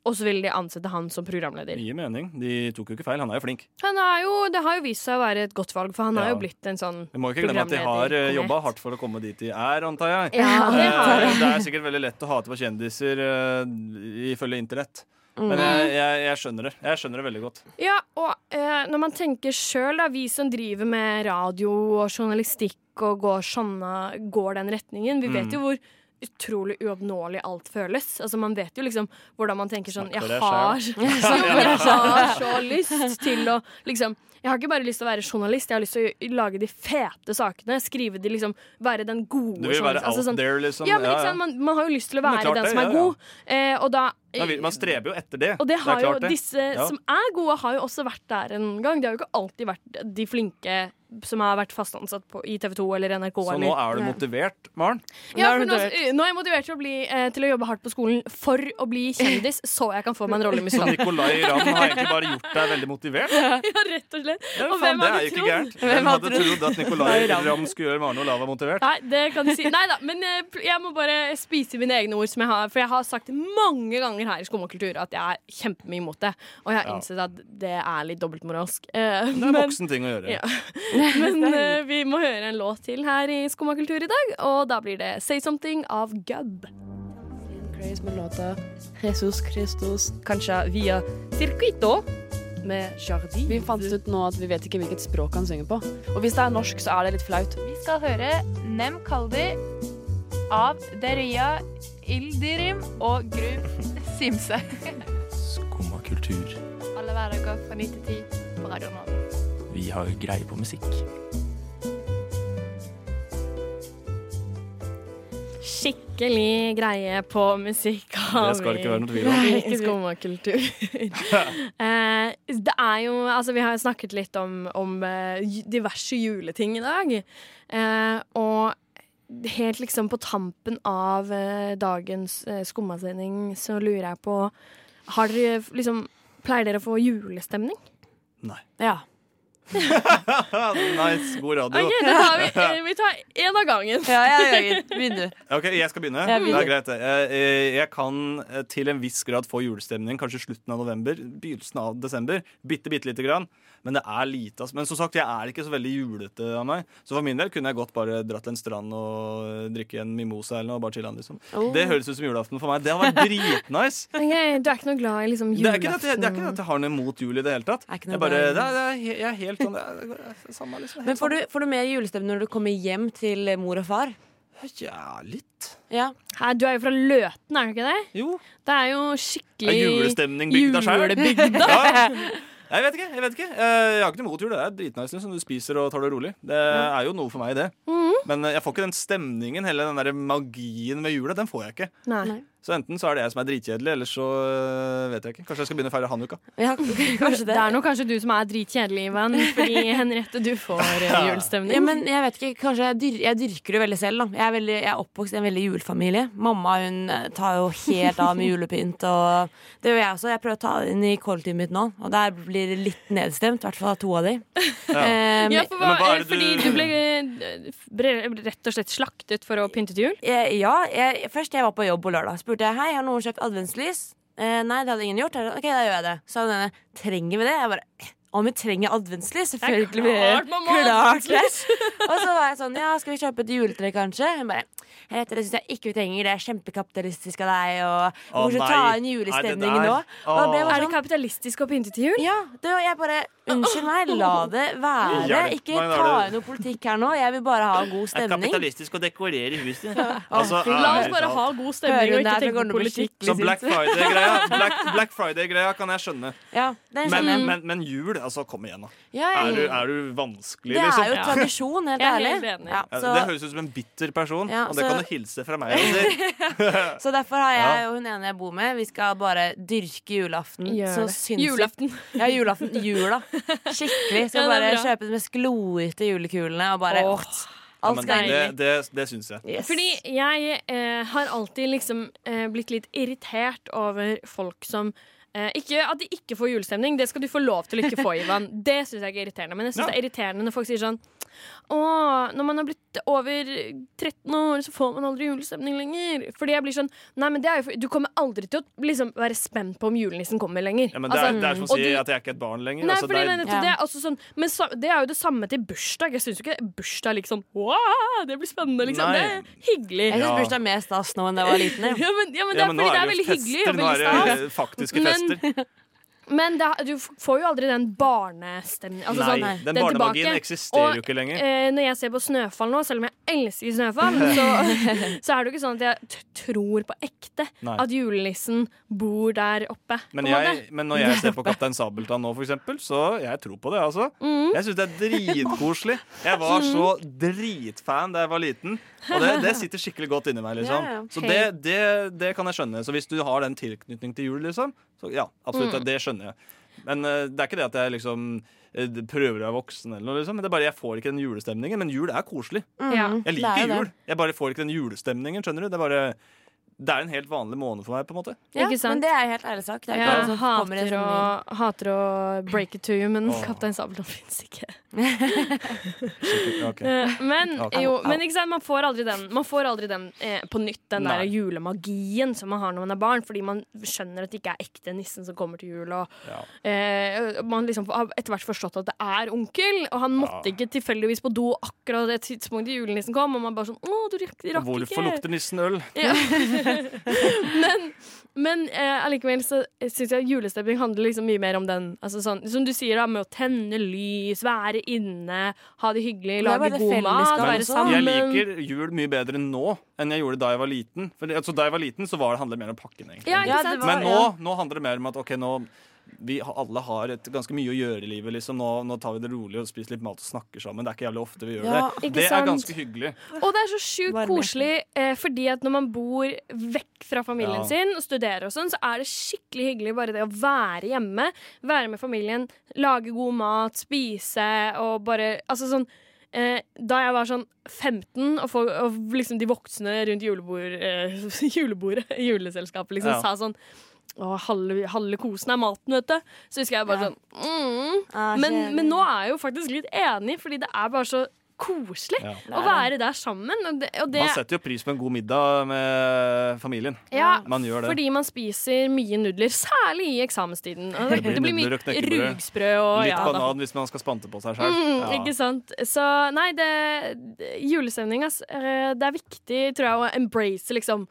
Speaker 3: Og så ville de ansette han som programleder.
Speaker 5: Mye mening. De tok jo ikke feil. Han er jo flink.
Speaker 3: Han er jo, det har jo vist seg å være et godt valg, for han har
Speaker 5: Ja.
Speaker 3: jo blitt en sånn
Speaker 5: Vi må ikke glemme at de har
Speaker 3: programleder-
Speaker 5: jobba hardt for å komme dit de er, antar jeg.
Speaker 3: Ja, det har
Speaker 5: Eh, det er sikkert veldig lett å hate på kjendiser eh, ifølge internett.
Speaker 3: Mm.
Speaker 5: Men jeg, jeg, jeg skjønner det. Jeg skjønner det veldig godt.
Speaker 3: Ja, og eh, når man tenker sjøl, da, vi som driver med radio og journalistikk og går, sånne, går den retningen, vi
Speaker 5: Mm.
Speaker 3: vet jo hvor utrolig uoppnåelig alt føles. Altså, man vet jo liksom hvordan man tenker sånn
Speaker 5: Snakk for
Speaker 3: Jeg
Speaker 5: deg
Speaker 3: har, jo, men (laughs) jeg har så lyst til å liksom jeg har ikke bare lyst til å være journalist, jeg har lyst til å lage de fete sakene. Skrive de liksom, Være den gode
Speaker 5: Du vil
Speaker 3: journalisten.
Speaker 5: være out
Speaker 3: Altså sånn-
Speaker 5: there, liksom.
Speaker 3: ja, men ikke sant? Man, man har jo lyst til å
Speaker 5: Men
Speaker 3: være
Speaker 5: det er klart
Speaker 3: den
Speaker 5: det,
Speaker 3: som er
Speaker 5: ja, ja.
Speaker 3: god, eh, og da
Speaker 5: Man, vil, man streber jo etter det.
Speaker 3: og det har
Speaker 5: er klart
Speaker 3: jo
Speaker 5: det.
Speaker 3: disse
Speaker 5: Ja.
Speaker 3: som er gode, har jo også vært der en gang. De har jo ikke alltid vært de flinke som har vært fast ansatt på, i TV 2 eller NRK.
Speaker 5: Så nå
Speaker 3: eller.
Speaker 5: er du motivert, Maren?
Speaker 3: ja, for nå, nå er jeg motivert til å, bli, eh, til å jobbe hardt på skolen for å bli kjendis, så jeg kan få meg en
Speaker 5: (laughs)
Speaker 3: rolle i
Speaker 5: Så
Speaker 3: Musikalen.
Speaker 5: Nicolay Ramm har egentlig bare gjort deg veldig motivert?
Speaker 3: Ja, rett og slett.
Speaker 5: Ja,
Speaker 3: Og hvem
Speaker 5: faen, det
Speaker 3: hadde
Speaker 5: er jo ikke
Speaker 3: trodd?
Speaker 5: gærent. Hvem hadde trodd at Nicolay Ramm skulle gjøre Maren Olava motivert?
Speaker 3: Nei, det kan du si. Nei da, men eh, pl- jeg må bare spise mine egne ord, som jeg har, for jeg har sagt mange ganger her i Skum og kultur at jeg er kjempemye imot det. Og jeg har
Speaker 5: Ja.
Speaker 3: innsett at det er litt dobbeltmoralsk. Eh,
Speaker 5: Det er
Speaker 3: men-
Speaker 5: voksen ting å gjøre.
Speaker 3: Ja. Men eh, vi må høre en låt til her i Skumma kultur i dag, og da blir det Say Something av Gubb.
Speaker 7: Craze med låta Jesus Christus Kanskje via Circuito med Jardin. Vi fant ut nå at vi vet ikke hvilket språk han synger på. Og hvis det er norsk, så er det litt flaut.
Speaker 9: Vi skal høre Nem Kaldi av Deria Ildirim og Grum Simse.
Speaker 10: Skumma kultur.
Speaker 9: Alle hverdager fra 9 til 10 på Radio Nova.
Speaker 10: Vi har greie på musikk.
Speaker 3: Skikkelig greie på musikk. har
Speaker 5: Det skal det
Speaker 3: vi.
Speaker 5: ikke være noe tvil om.
Speaker 3: Nei, ikke skumma kultur. (laughs) Eh, det er jo Altså, vi har jo snakket litt om, om eh, ju- diverse juleting i dag. Eh, og helt liksom på tampen av eh, dagens uh, skummasending så lurer jeg på Har dere liksom Pleier dere å få julestemning?
Speaker 4: ja.
Speaker 5: Nice, god radio.
Speaker 3: Ok, da tar vi, eh, vi tar én av gangen.
Speaker 4: ja, ja, ja. Begynn du.
Speaker 5: Ok, jeg skal begynne.
Speaker 4: Ja, begynn.
Speaker 5: Det er greit, det. Jeg, jeg, jeg kan eh, til en viss grad få julestemning, kanskje slutten av november, begynnelsen av desember. Bitte, bitte lite grann. Men det er lite. ass. Men som sagt, jeg er ikke så veldig julete av meg. Så for min del kunne jeg godt bare dratt til en strand og eh, drikke en mimosa eller noe. og bare chille, liksom.
Speaker 3: Oh.
Speaker 5: Det høres ut som julaften for meg. Det hadde vært dritnice.
Speaker 3: Ok, du er ikke noe glad i liksom
Speaker 5: Det er, ikke det, at jeg,
Speaker 3: julaften?
Speaker 5: det er ikke det at jeg har noe imot jul i det hele tatt.
Speaker 4: Er ikke noe
Speaker 5: Jeg, bare,
Speaker 4: glad i
Speaker 5: det er, det er, he- jeg er helt sånn det er, det er Samme, liksom.
Speaker 4: (laughs) Men får du, får du mer julestemning når du kommer hjem til mor og far?
Speaker 5: Ja, sånn, litt.
Speaker 4: Ja.
Speaker 3: Hæ, du er jo fra Løten, er du ikke det?
Speaker 5: Jo.
Speaker 3: Det er jo
Speaker 5: Det
Speaker 3: skikkelig
Speaker 5: er julestemning bygda sjøl.
Speaker 3: Julebygda.
Speaker 5: Ja. Jeg vet ikke. Jeg vet ikke Eh, Jeg har ikke noe imot jul. Det er dritnice liksom. du spiser og tar det rolig. Det er jo noe for meg, det.
Speaker 4: Mhm.
Speaker 5: Men eh, jeg får ikke den stemningen, hele den der magien med jula. Den får jeg ikke.
Speaker 3: Nei.
Speaker 5: Så enten så er det jeg som er dritkjedelig, eller så eh, vet jeg ikke. Kanskje jeg skal begynne å feire hanukka.
Speaker 3: det.
Speaker 4: (laughs)
Speaker 3: er nok kanskje du som er dritkjedelig, Ivan. (laughs) Fordi Henriette, du får eh, julestemning.
Speaker 4: Ja, men jeg vet ikke, kanskje jeg, dyr, jeg dyrker det veldig selv. Da. Jeg, er veldig, jeg er oppvokst i en veldig julefamilie. Mamma hun eh, tar jo helt av med julepynt. Og det gjør jeg også. Jeg prøver å ta det inn i kollektivet mitt nå, og der blir det litt nedstemt. I hvert fall av to av de. Eh,
Speaker 3: Ja, for hva,
Speaker 4: men hva er
Speaker 3: eh,
Speaker 4: det
Speaker 3: fordi
Speaker 4: du-
Speaker 3: du ble eh, bre- rett og slett slaktet for å pynte til jul?
Speaker 4: Eh, ja, jeg, først jeg var på jobb på lørdag. Spurte jeg hei, har noen kjøpt adventslys. Eh, nei, det hadde ingen gjort. Jeg sa, Ok, da gjør jeg det. Så sa hun ene trenger vi det? Jeg bare «Eh, om vi trenger adventslys? Selvfølgelig. vil jeg
Speaker 3: klart man må ha
Speaker 4: (laughs) klart det.
Speaker 3: adventslys.
Speaker 4: Og så var jeg sånn ja, skal vi kjøpe et juletre, kanskje? Hun bare Henriette, det syns jeg ikke vi trenger. Det er kjempekapitalistisk av deg. Og
Speaker 3: Å,
Speaker 4: hvorfor
Speaker 3: nei.
Speaker 4: skal vi ta inn julestemningen
Speaker 3: Nei, det der.
Speaker 4: nå? Og da ble jeg
Speaker 3: Er
Speaker 4: bare
Speaker 3: det
Speaker 4: sånn,
Speaker 3: kapitalistisk å pynte til jul?
Speaker 4: Ja. Det var jeg bare Unnskyld meg, la det være.
Speaker 5: Hjelp
Speaker 4: Ikke
Speaker 5: meg, da er
Speaker 4: ta
Speaker 5: det-
Speaker 4: inn noe politikk her nå. Jeg vil bare ha en god stemning.
Speaker 5: å dekorere huset.
Speaker 3: La oss bare ha god stemning og ikke
Speaker 4: Hører hun der, så
Speaker 3: tenke
Speaker 4: går det
Speaker 3: på
Speaker 4: blir
Speaker 3: politikk.
Speaker 5: Så
Speaker 4: skikkelig
Speaker 5: Black
Speaker 4: sint.
Speaker 5: Friday-greia Black, Black Friday-greia kan jeg skjønne.
Speaker 4: Ja, sånn- den
Speaker 5: Men,
Speaker 4: skjønner jeg.
Speaker 5: men, men jul, altså, kom igjen, da.
Speaker 4: Ja, ja,
Speaker 5: Er, du,
Speaker 4: ja.
Speaker 5: er du vanskelig,
Speaker 4: Det
Speaker 5: liksom?
Speaker 4: er jo tradisjon, helt ærlig. Ja,
Speaker 5: Ja,
Speaker 4: så,
Speaker 5: det høres ut som en bitter person,
Speaker 4: Ja,
Speaker 5: og det
Speaker 4: så-
Speaker 5: kan du hilse fra meg.
Speaker 3: (laughs)
Speaker 5: og si.
Speaker 4: så derfor har jeg
Speaker 5: Ja.
Speaker 4: og hun ene jeg bor med, vi skal bare dyrke julaften.
Speaker 3: Gjør
Speaker 4: så
Speaker 3: det.
Speaker 4: sinnssykt.
Speaker 3: Julaften.
Speaker 4: Ja, julaften. Jula. Skikkelig.
Speaker 3: (laughs) Ja, det er
Speaker 4: Skal bare
Speaker 3: bra.
Speaker 4: kjøpe de mest gloete julekulene og bare
Speaker 5: Ja,
Speaker 4: Alt
Speaker 5: men
Speaker 4: skal
Speaker 5: det
Speaker 4: inn i.
Speaker 5: det, det syns jeg.
Speaker 3: Fordi jeg eh, har alltid liksom eh, blitt litt irritert over folk som eh, ikke, At de ikke får julestemning. Det skal du få lov til å ikke
Speaker 5: (laughs)
Speaker 3: få, Ivan. Det syns jeg ikke er irriterende. Men jeg syns
Speaker 11: Ja.
Speaker 3: det er irriterende når folk sier sånn Å, når man har blitt over 13 år, så får man aldri julestemning lenger. Fordi jeg blir sånn Nei, men det er jo for, du kommer aldri til å liksom, være spent på om julenissen kommer lenger.
Speaker 5: Ja, men det, er,
Speaker 3: Altså,
Speaker 5: det er som å
Speaker 3: og
Speaker 5: si
Speaker 3: du-
Speaker 5: at jeg er ikke er et barn lenger.
Speaker 3: Nei,
Speaker 5: altså,
Speaker 3: fordi
Speaker 5: det
Speaker 3: nei,
Speaker 5: er,
Speaker 3: nettopp, det er altså sånn, men så, det er jo det samme til bursdag. Jeg syns jo ikke bursdag liksom wow, Det blir spennende, liksom.
Speaker 5: Nei.
Speaker 3: Det er hyggelig.
Speaker 4: Jeg syns bursdag er mer stas nå enn da jeg var liten. jeg.
Speaker 3: (laughs) ja, men, ja, men det er fordi det er veldig hyggelig og
Speaker 5: Nå er det
Speaker 3: veldig
Speaker 5: eh, faktiske
Speaker 3: Men-
Speaker 5: fester.
Speaker 3: stas. Men det, er- du f- får jo aldri den barnestemningen. Altså,
Speaker 5: Nei,
Speaker 3: sånn,
Speaker 5: den
Speaker 3: er
Speaker 5: barnemagien
Speaker 3: tilbake.
Speaker 5: eksisterer
Speaker 3: Og,
Speaker 5: jo ikke lenger.
Speaker 3: Eh, når jeg ser på Snøfall nå, selv om jeg elsker
Speaker 5: (laughs)
Speaker 3: Snøfall, så, så (laughs) er det jo ikke sånn at jeg t tror på ekte
Speaker 5: Nei.
Speaker 3: at julenissen bor der oppe.
Speaker 5: Men,
Speaker 3: på en
Speaker 5: jeg,
Speaker 3: måte.
Speaker 5: men når jeg
Speaker 10: (laughs)
Speaker 5: ser på Kaptein Sabeltann nå, for eksempel, så jeg tror på det. altså
Speaker 3: Mm.
Speaker 5: Jeg syns det er dritkoselig. Jeg var
Speaker 10: Mm.
Speaker 5: så dritfan da jeg var liten. Og det, det sitter skikkelig godt inni meg. liksom
Speaker 10: Ja, ja.
Speaker 5: Så det, det, det kan jeg skjønne. Så hvis du har den tilknytning til jul, liksom, så ja, absolutt.
Speaker 10: Mm.
Speaker 5: Det skjønner jeg. Men eh, det er ikke det at jeg liksom eh, prøver å være voksen, eller noe, liksom. Men det er bare jeg får ikke den julestemningen. Men jul er koselig.
Speaker 10: Mm. Ja.
Speaker 5: Jeg
Speaker 10: Det er jo
Speaker 5: liker
Speaker 10: det.
Speaker 5: jul. Jeg bare får ikke den julestemningen, skjønner du. Det er bare det er en helt vanlig måned for meg, på en måte.
Speaker 4: Ja,
Speaker 3: Ikke sant?
Speaker 4: Men det er helt ærlig sagt. Det er
Speaker 3: Jeg
Speaker 4: ikke alle
Speaker 5: sånn
Speaker 4: som kommer i
Speaker 3: hater,
Speaker 4: sånn
Speaker 3: å,
Speaker 4: stemning.
Speaker 3: hater å break it to you, men
Speaker 5: Åh.
Speaker 3: Kaptein Sabeltann fins ikke.
Speaker 5: Sikkert- ok.
Speaker 3: Eh, Men,
Speaker 5: Ok.
Speaker 3: jo, men ikke sant, man får aldri den, man får aldri den eh, på nytt, den der julemagien som man har når man er barn, fordi man skjønner at det ikke er ekte nissen som kommer til jul. Og, eh, man liksom har etter hvert forstått at det er onkel, og han måtte ikke tilfeldigvis på do akkurat det tidspunktet julenissen kom, og man bare sånn Å, du rakk, rakk ikke.
Speaker 5: Hvorfor lukter nissen øl?
Speaker 3: Ja. men men eh, allikevel så syns jeg julestemning handler liksom mye mer om den. Altså sånn, som du sier, da, med å tenne lys, være inne, ha det hyggelig,
Speaker 4: Det er
Speaker 3: lage
Speaker 4: bare
Speaker 3: god mat,
Speaker 4: fellesskap
Speaker 3: være
Speaker 4: også.
Speaker 3: sammen.
Speaker 5: Jeg liker jul mye bedre nå enn jeg gjorde da jeg var liten. For, det- altså, da jeg var liten, så var det handlet mer om pakken. egentlig.
Speaker 3: Ja, ikke Ja, det sant? var-
Speaker 5: Men nå, nå handler det mer om at ok, nå vi har- alle har et, ganske mye å gjøre i livet. Liksom. Nå, nå tar vi det rolig og spiser litt mat og snakker sammen. Det er ikke jævlig ofte vi gjør
Speaker 3: Ja, ikke
Speaker 5: det. Det er
Speaker 3: sant?
Speaker 5: ganske hyggelig.
Speaker 3: Og det er så sjukt koselig, eh, fordi at når man bor vekk fra familien
Speaker 5: Ja.
Speaker 3: sin og studerer og sånn, så er det skikkelig hyggelig bare det å være hjemme, være med familien, lage god mat, spise og bare Altså sånn eh, da jeg var sånn 15, og, folk, og liksom de voksne rundt julebord, eh, (laughs) julebordet, juleselskapet, liksom
Speaker 11: Ja.
Speaker 3: sa sånn Å, halve, halve kosen er maten, vet du. Så husker jeg bare sånn mm.
Speaker 11: Ah,
Speaker 3: men,
Speaker 11: kjedelig.
Speaker 3: men nå er jeg jo faktisk litt enig, fordi det er bare så koselig
Speaker 5: Ja.
Speaker 3: å være der sammen. Og det, og det,
Speaker 5: Man setter jo pris på en god middag med familien.
Speaker 3: ja,
Speaker 5: Man gjør det.
Speaker 3: Fordi man spiser mye nudler, særlig i eksamenstiden. Og
Speaker 5: det blir nudler
Speaker 3: mye
Speaker 5: og knekkebrød.
Speaker 3: rugsprø og
Speaker 5: Litt
Speaker 3: ja da.
Speaker 5: banan hvis man skal spante på seg sjøl.
Speaker 3: Mm, Ikke sant. Så nei, det, det julestemning, ass. Eh, Det er viktig, tror jeg, å embrace liksom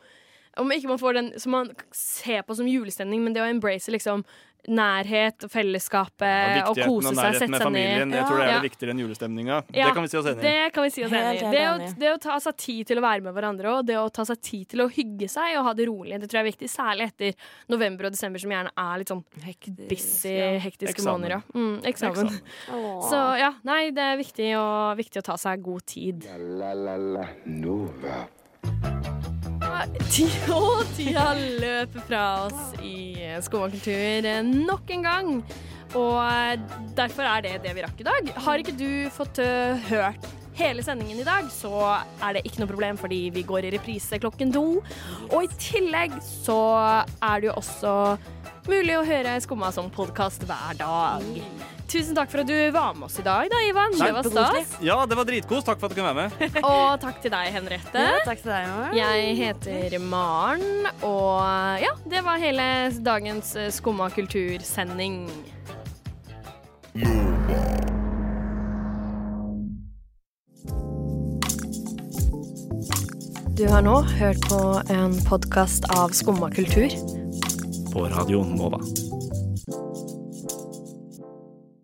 Speaker 3: Om ikke man får den som man ser på som julestemning, men det å embrace liksom nærhet og fellesskapet og
Speaker 5: Viktigheten
Speaker 3: kose seg,
Speaker 5: og nærheten
Speaker 3: sette
Speaker 5: med
Speaker 3: seg
Speaker 5: familien.
Speaker 3: ned.
Speaker 5: Jeg tror det er
Speaker 3: Ja.
Speaker 5: det viktigere enn julestemninga.
Speaker 3: Ja,
Speaker 5: Det kan vi si oss enig i.
Speaker 3: Det kan vi si oss enig
Speaker 4: Helt,
Speaker 3: i.
Speaker 4: helt
Speaker 3: Det å,
Speaker 4: enig.
Speaker 3: det å ta seg tid til å være med hverandre og det å ta seg tid til å hygge seg og ha det rolig, det tror jeg er viktig. Særlig etter november og desember, som gjerne er litt sånn busy, hektiske
Speaker 5: Eksamen.
Speaker 3: måneder. Ja. Mm, eksamen.
Speaker 5: Eksamen.
Speaker 3: Så ja, nei, det er viktig, og, viktig å ta seg god tid.
Speaker 2: La, la, la Nova.
Speaker 3: (laughs) Tida og tida løper fra oss i Skum og kultur eh, nok en gang. Og eh, derfor er det det vi rakk i dag. Har ikke du fått eh, hørt hele sendingen i dag, så er det ikke noe problem, fordi vi går i reprise klokken to. Og i tillegg så er det jo også mulig å høre Skumma som podkast hver dag. Tusen takk for at du var med oss i dag, da, Ivan. Det var stas.
Speaker 5: Ja, det var dritkos. Takk for at du kunne være med.
Speaker 3: Og takk til deg, Henriette.
Speaker 4: takk til deg, Maren.
Speaker 3: Jeg heter Maren, og ja, det var hele dagens eh, Skumma kultursending. Du har nå hørt på en podkast av Skumma kultur.
Speaker 10: På radioen Nova.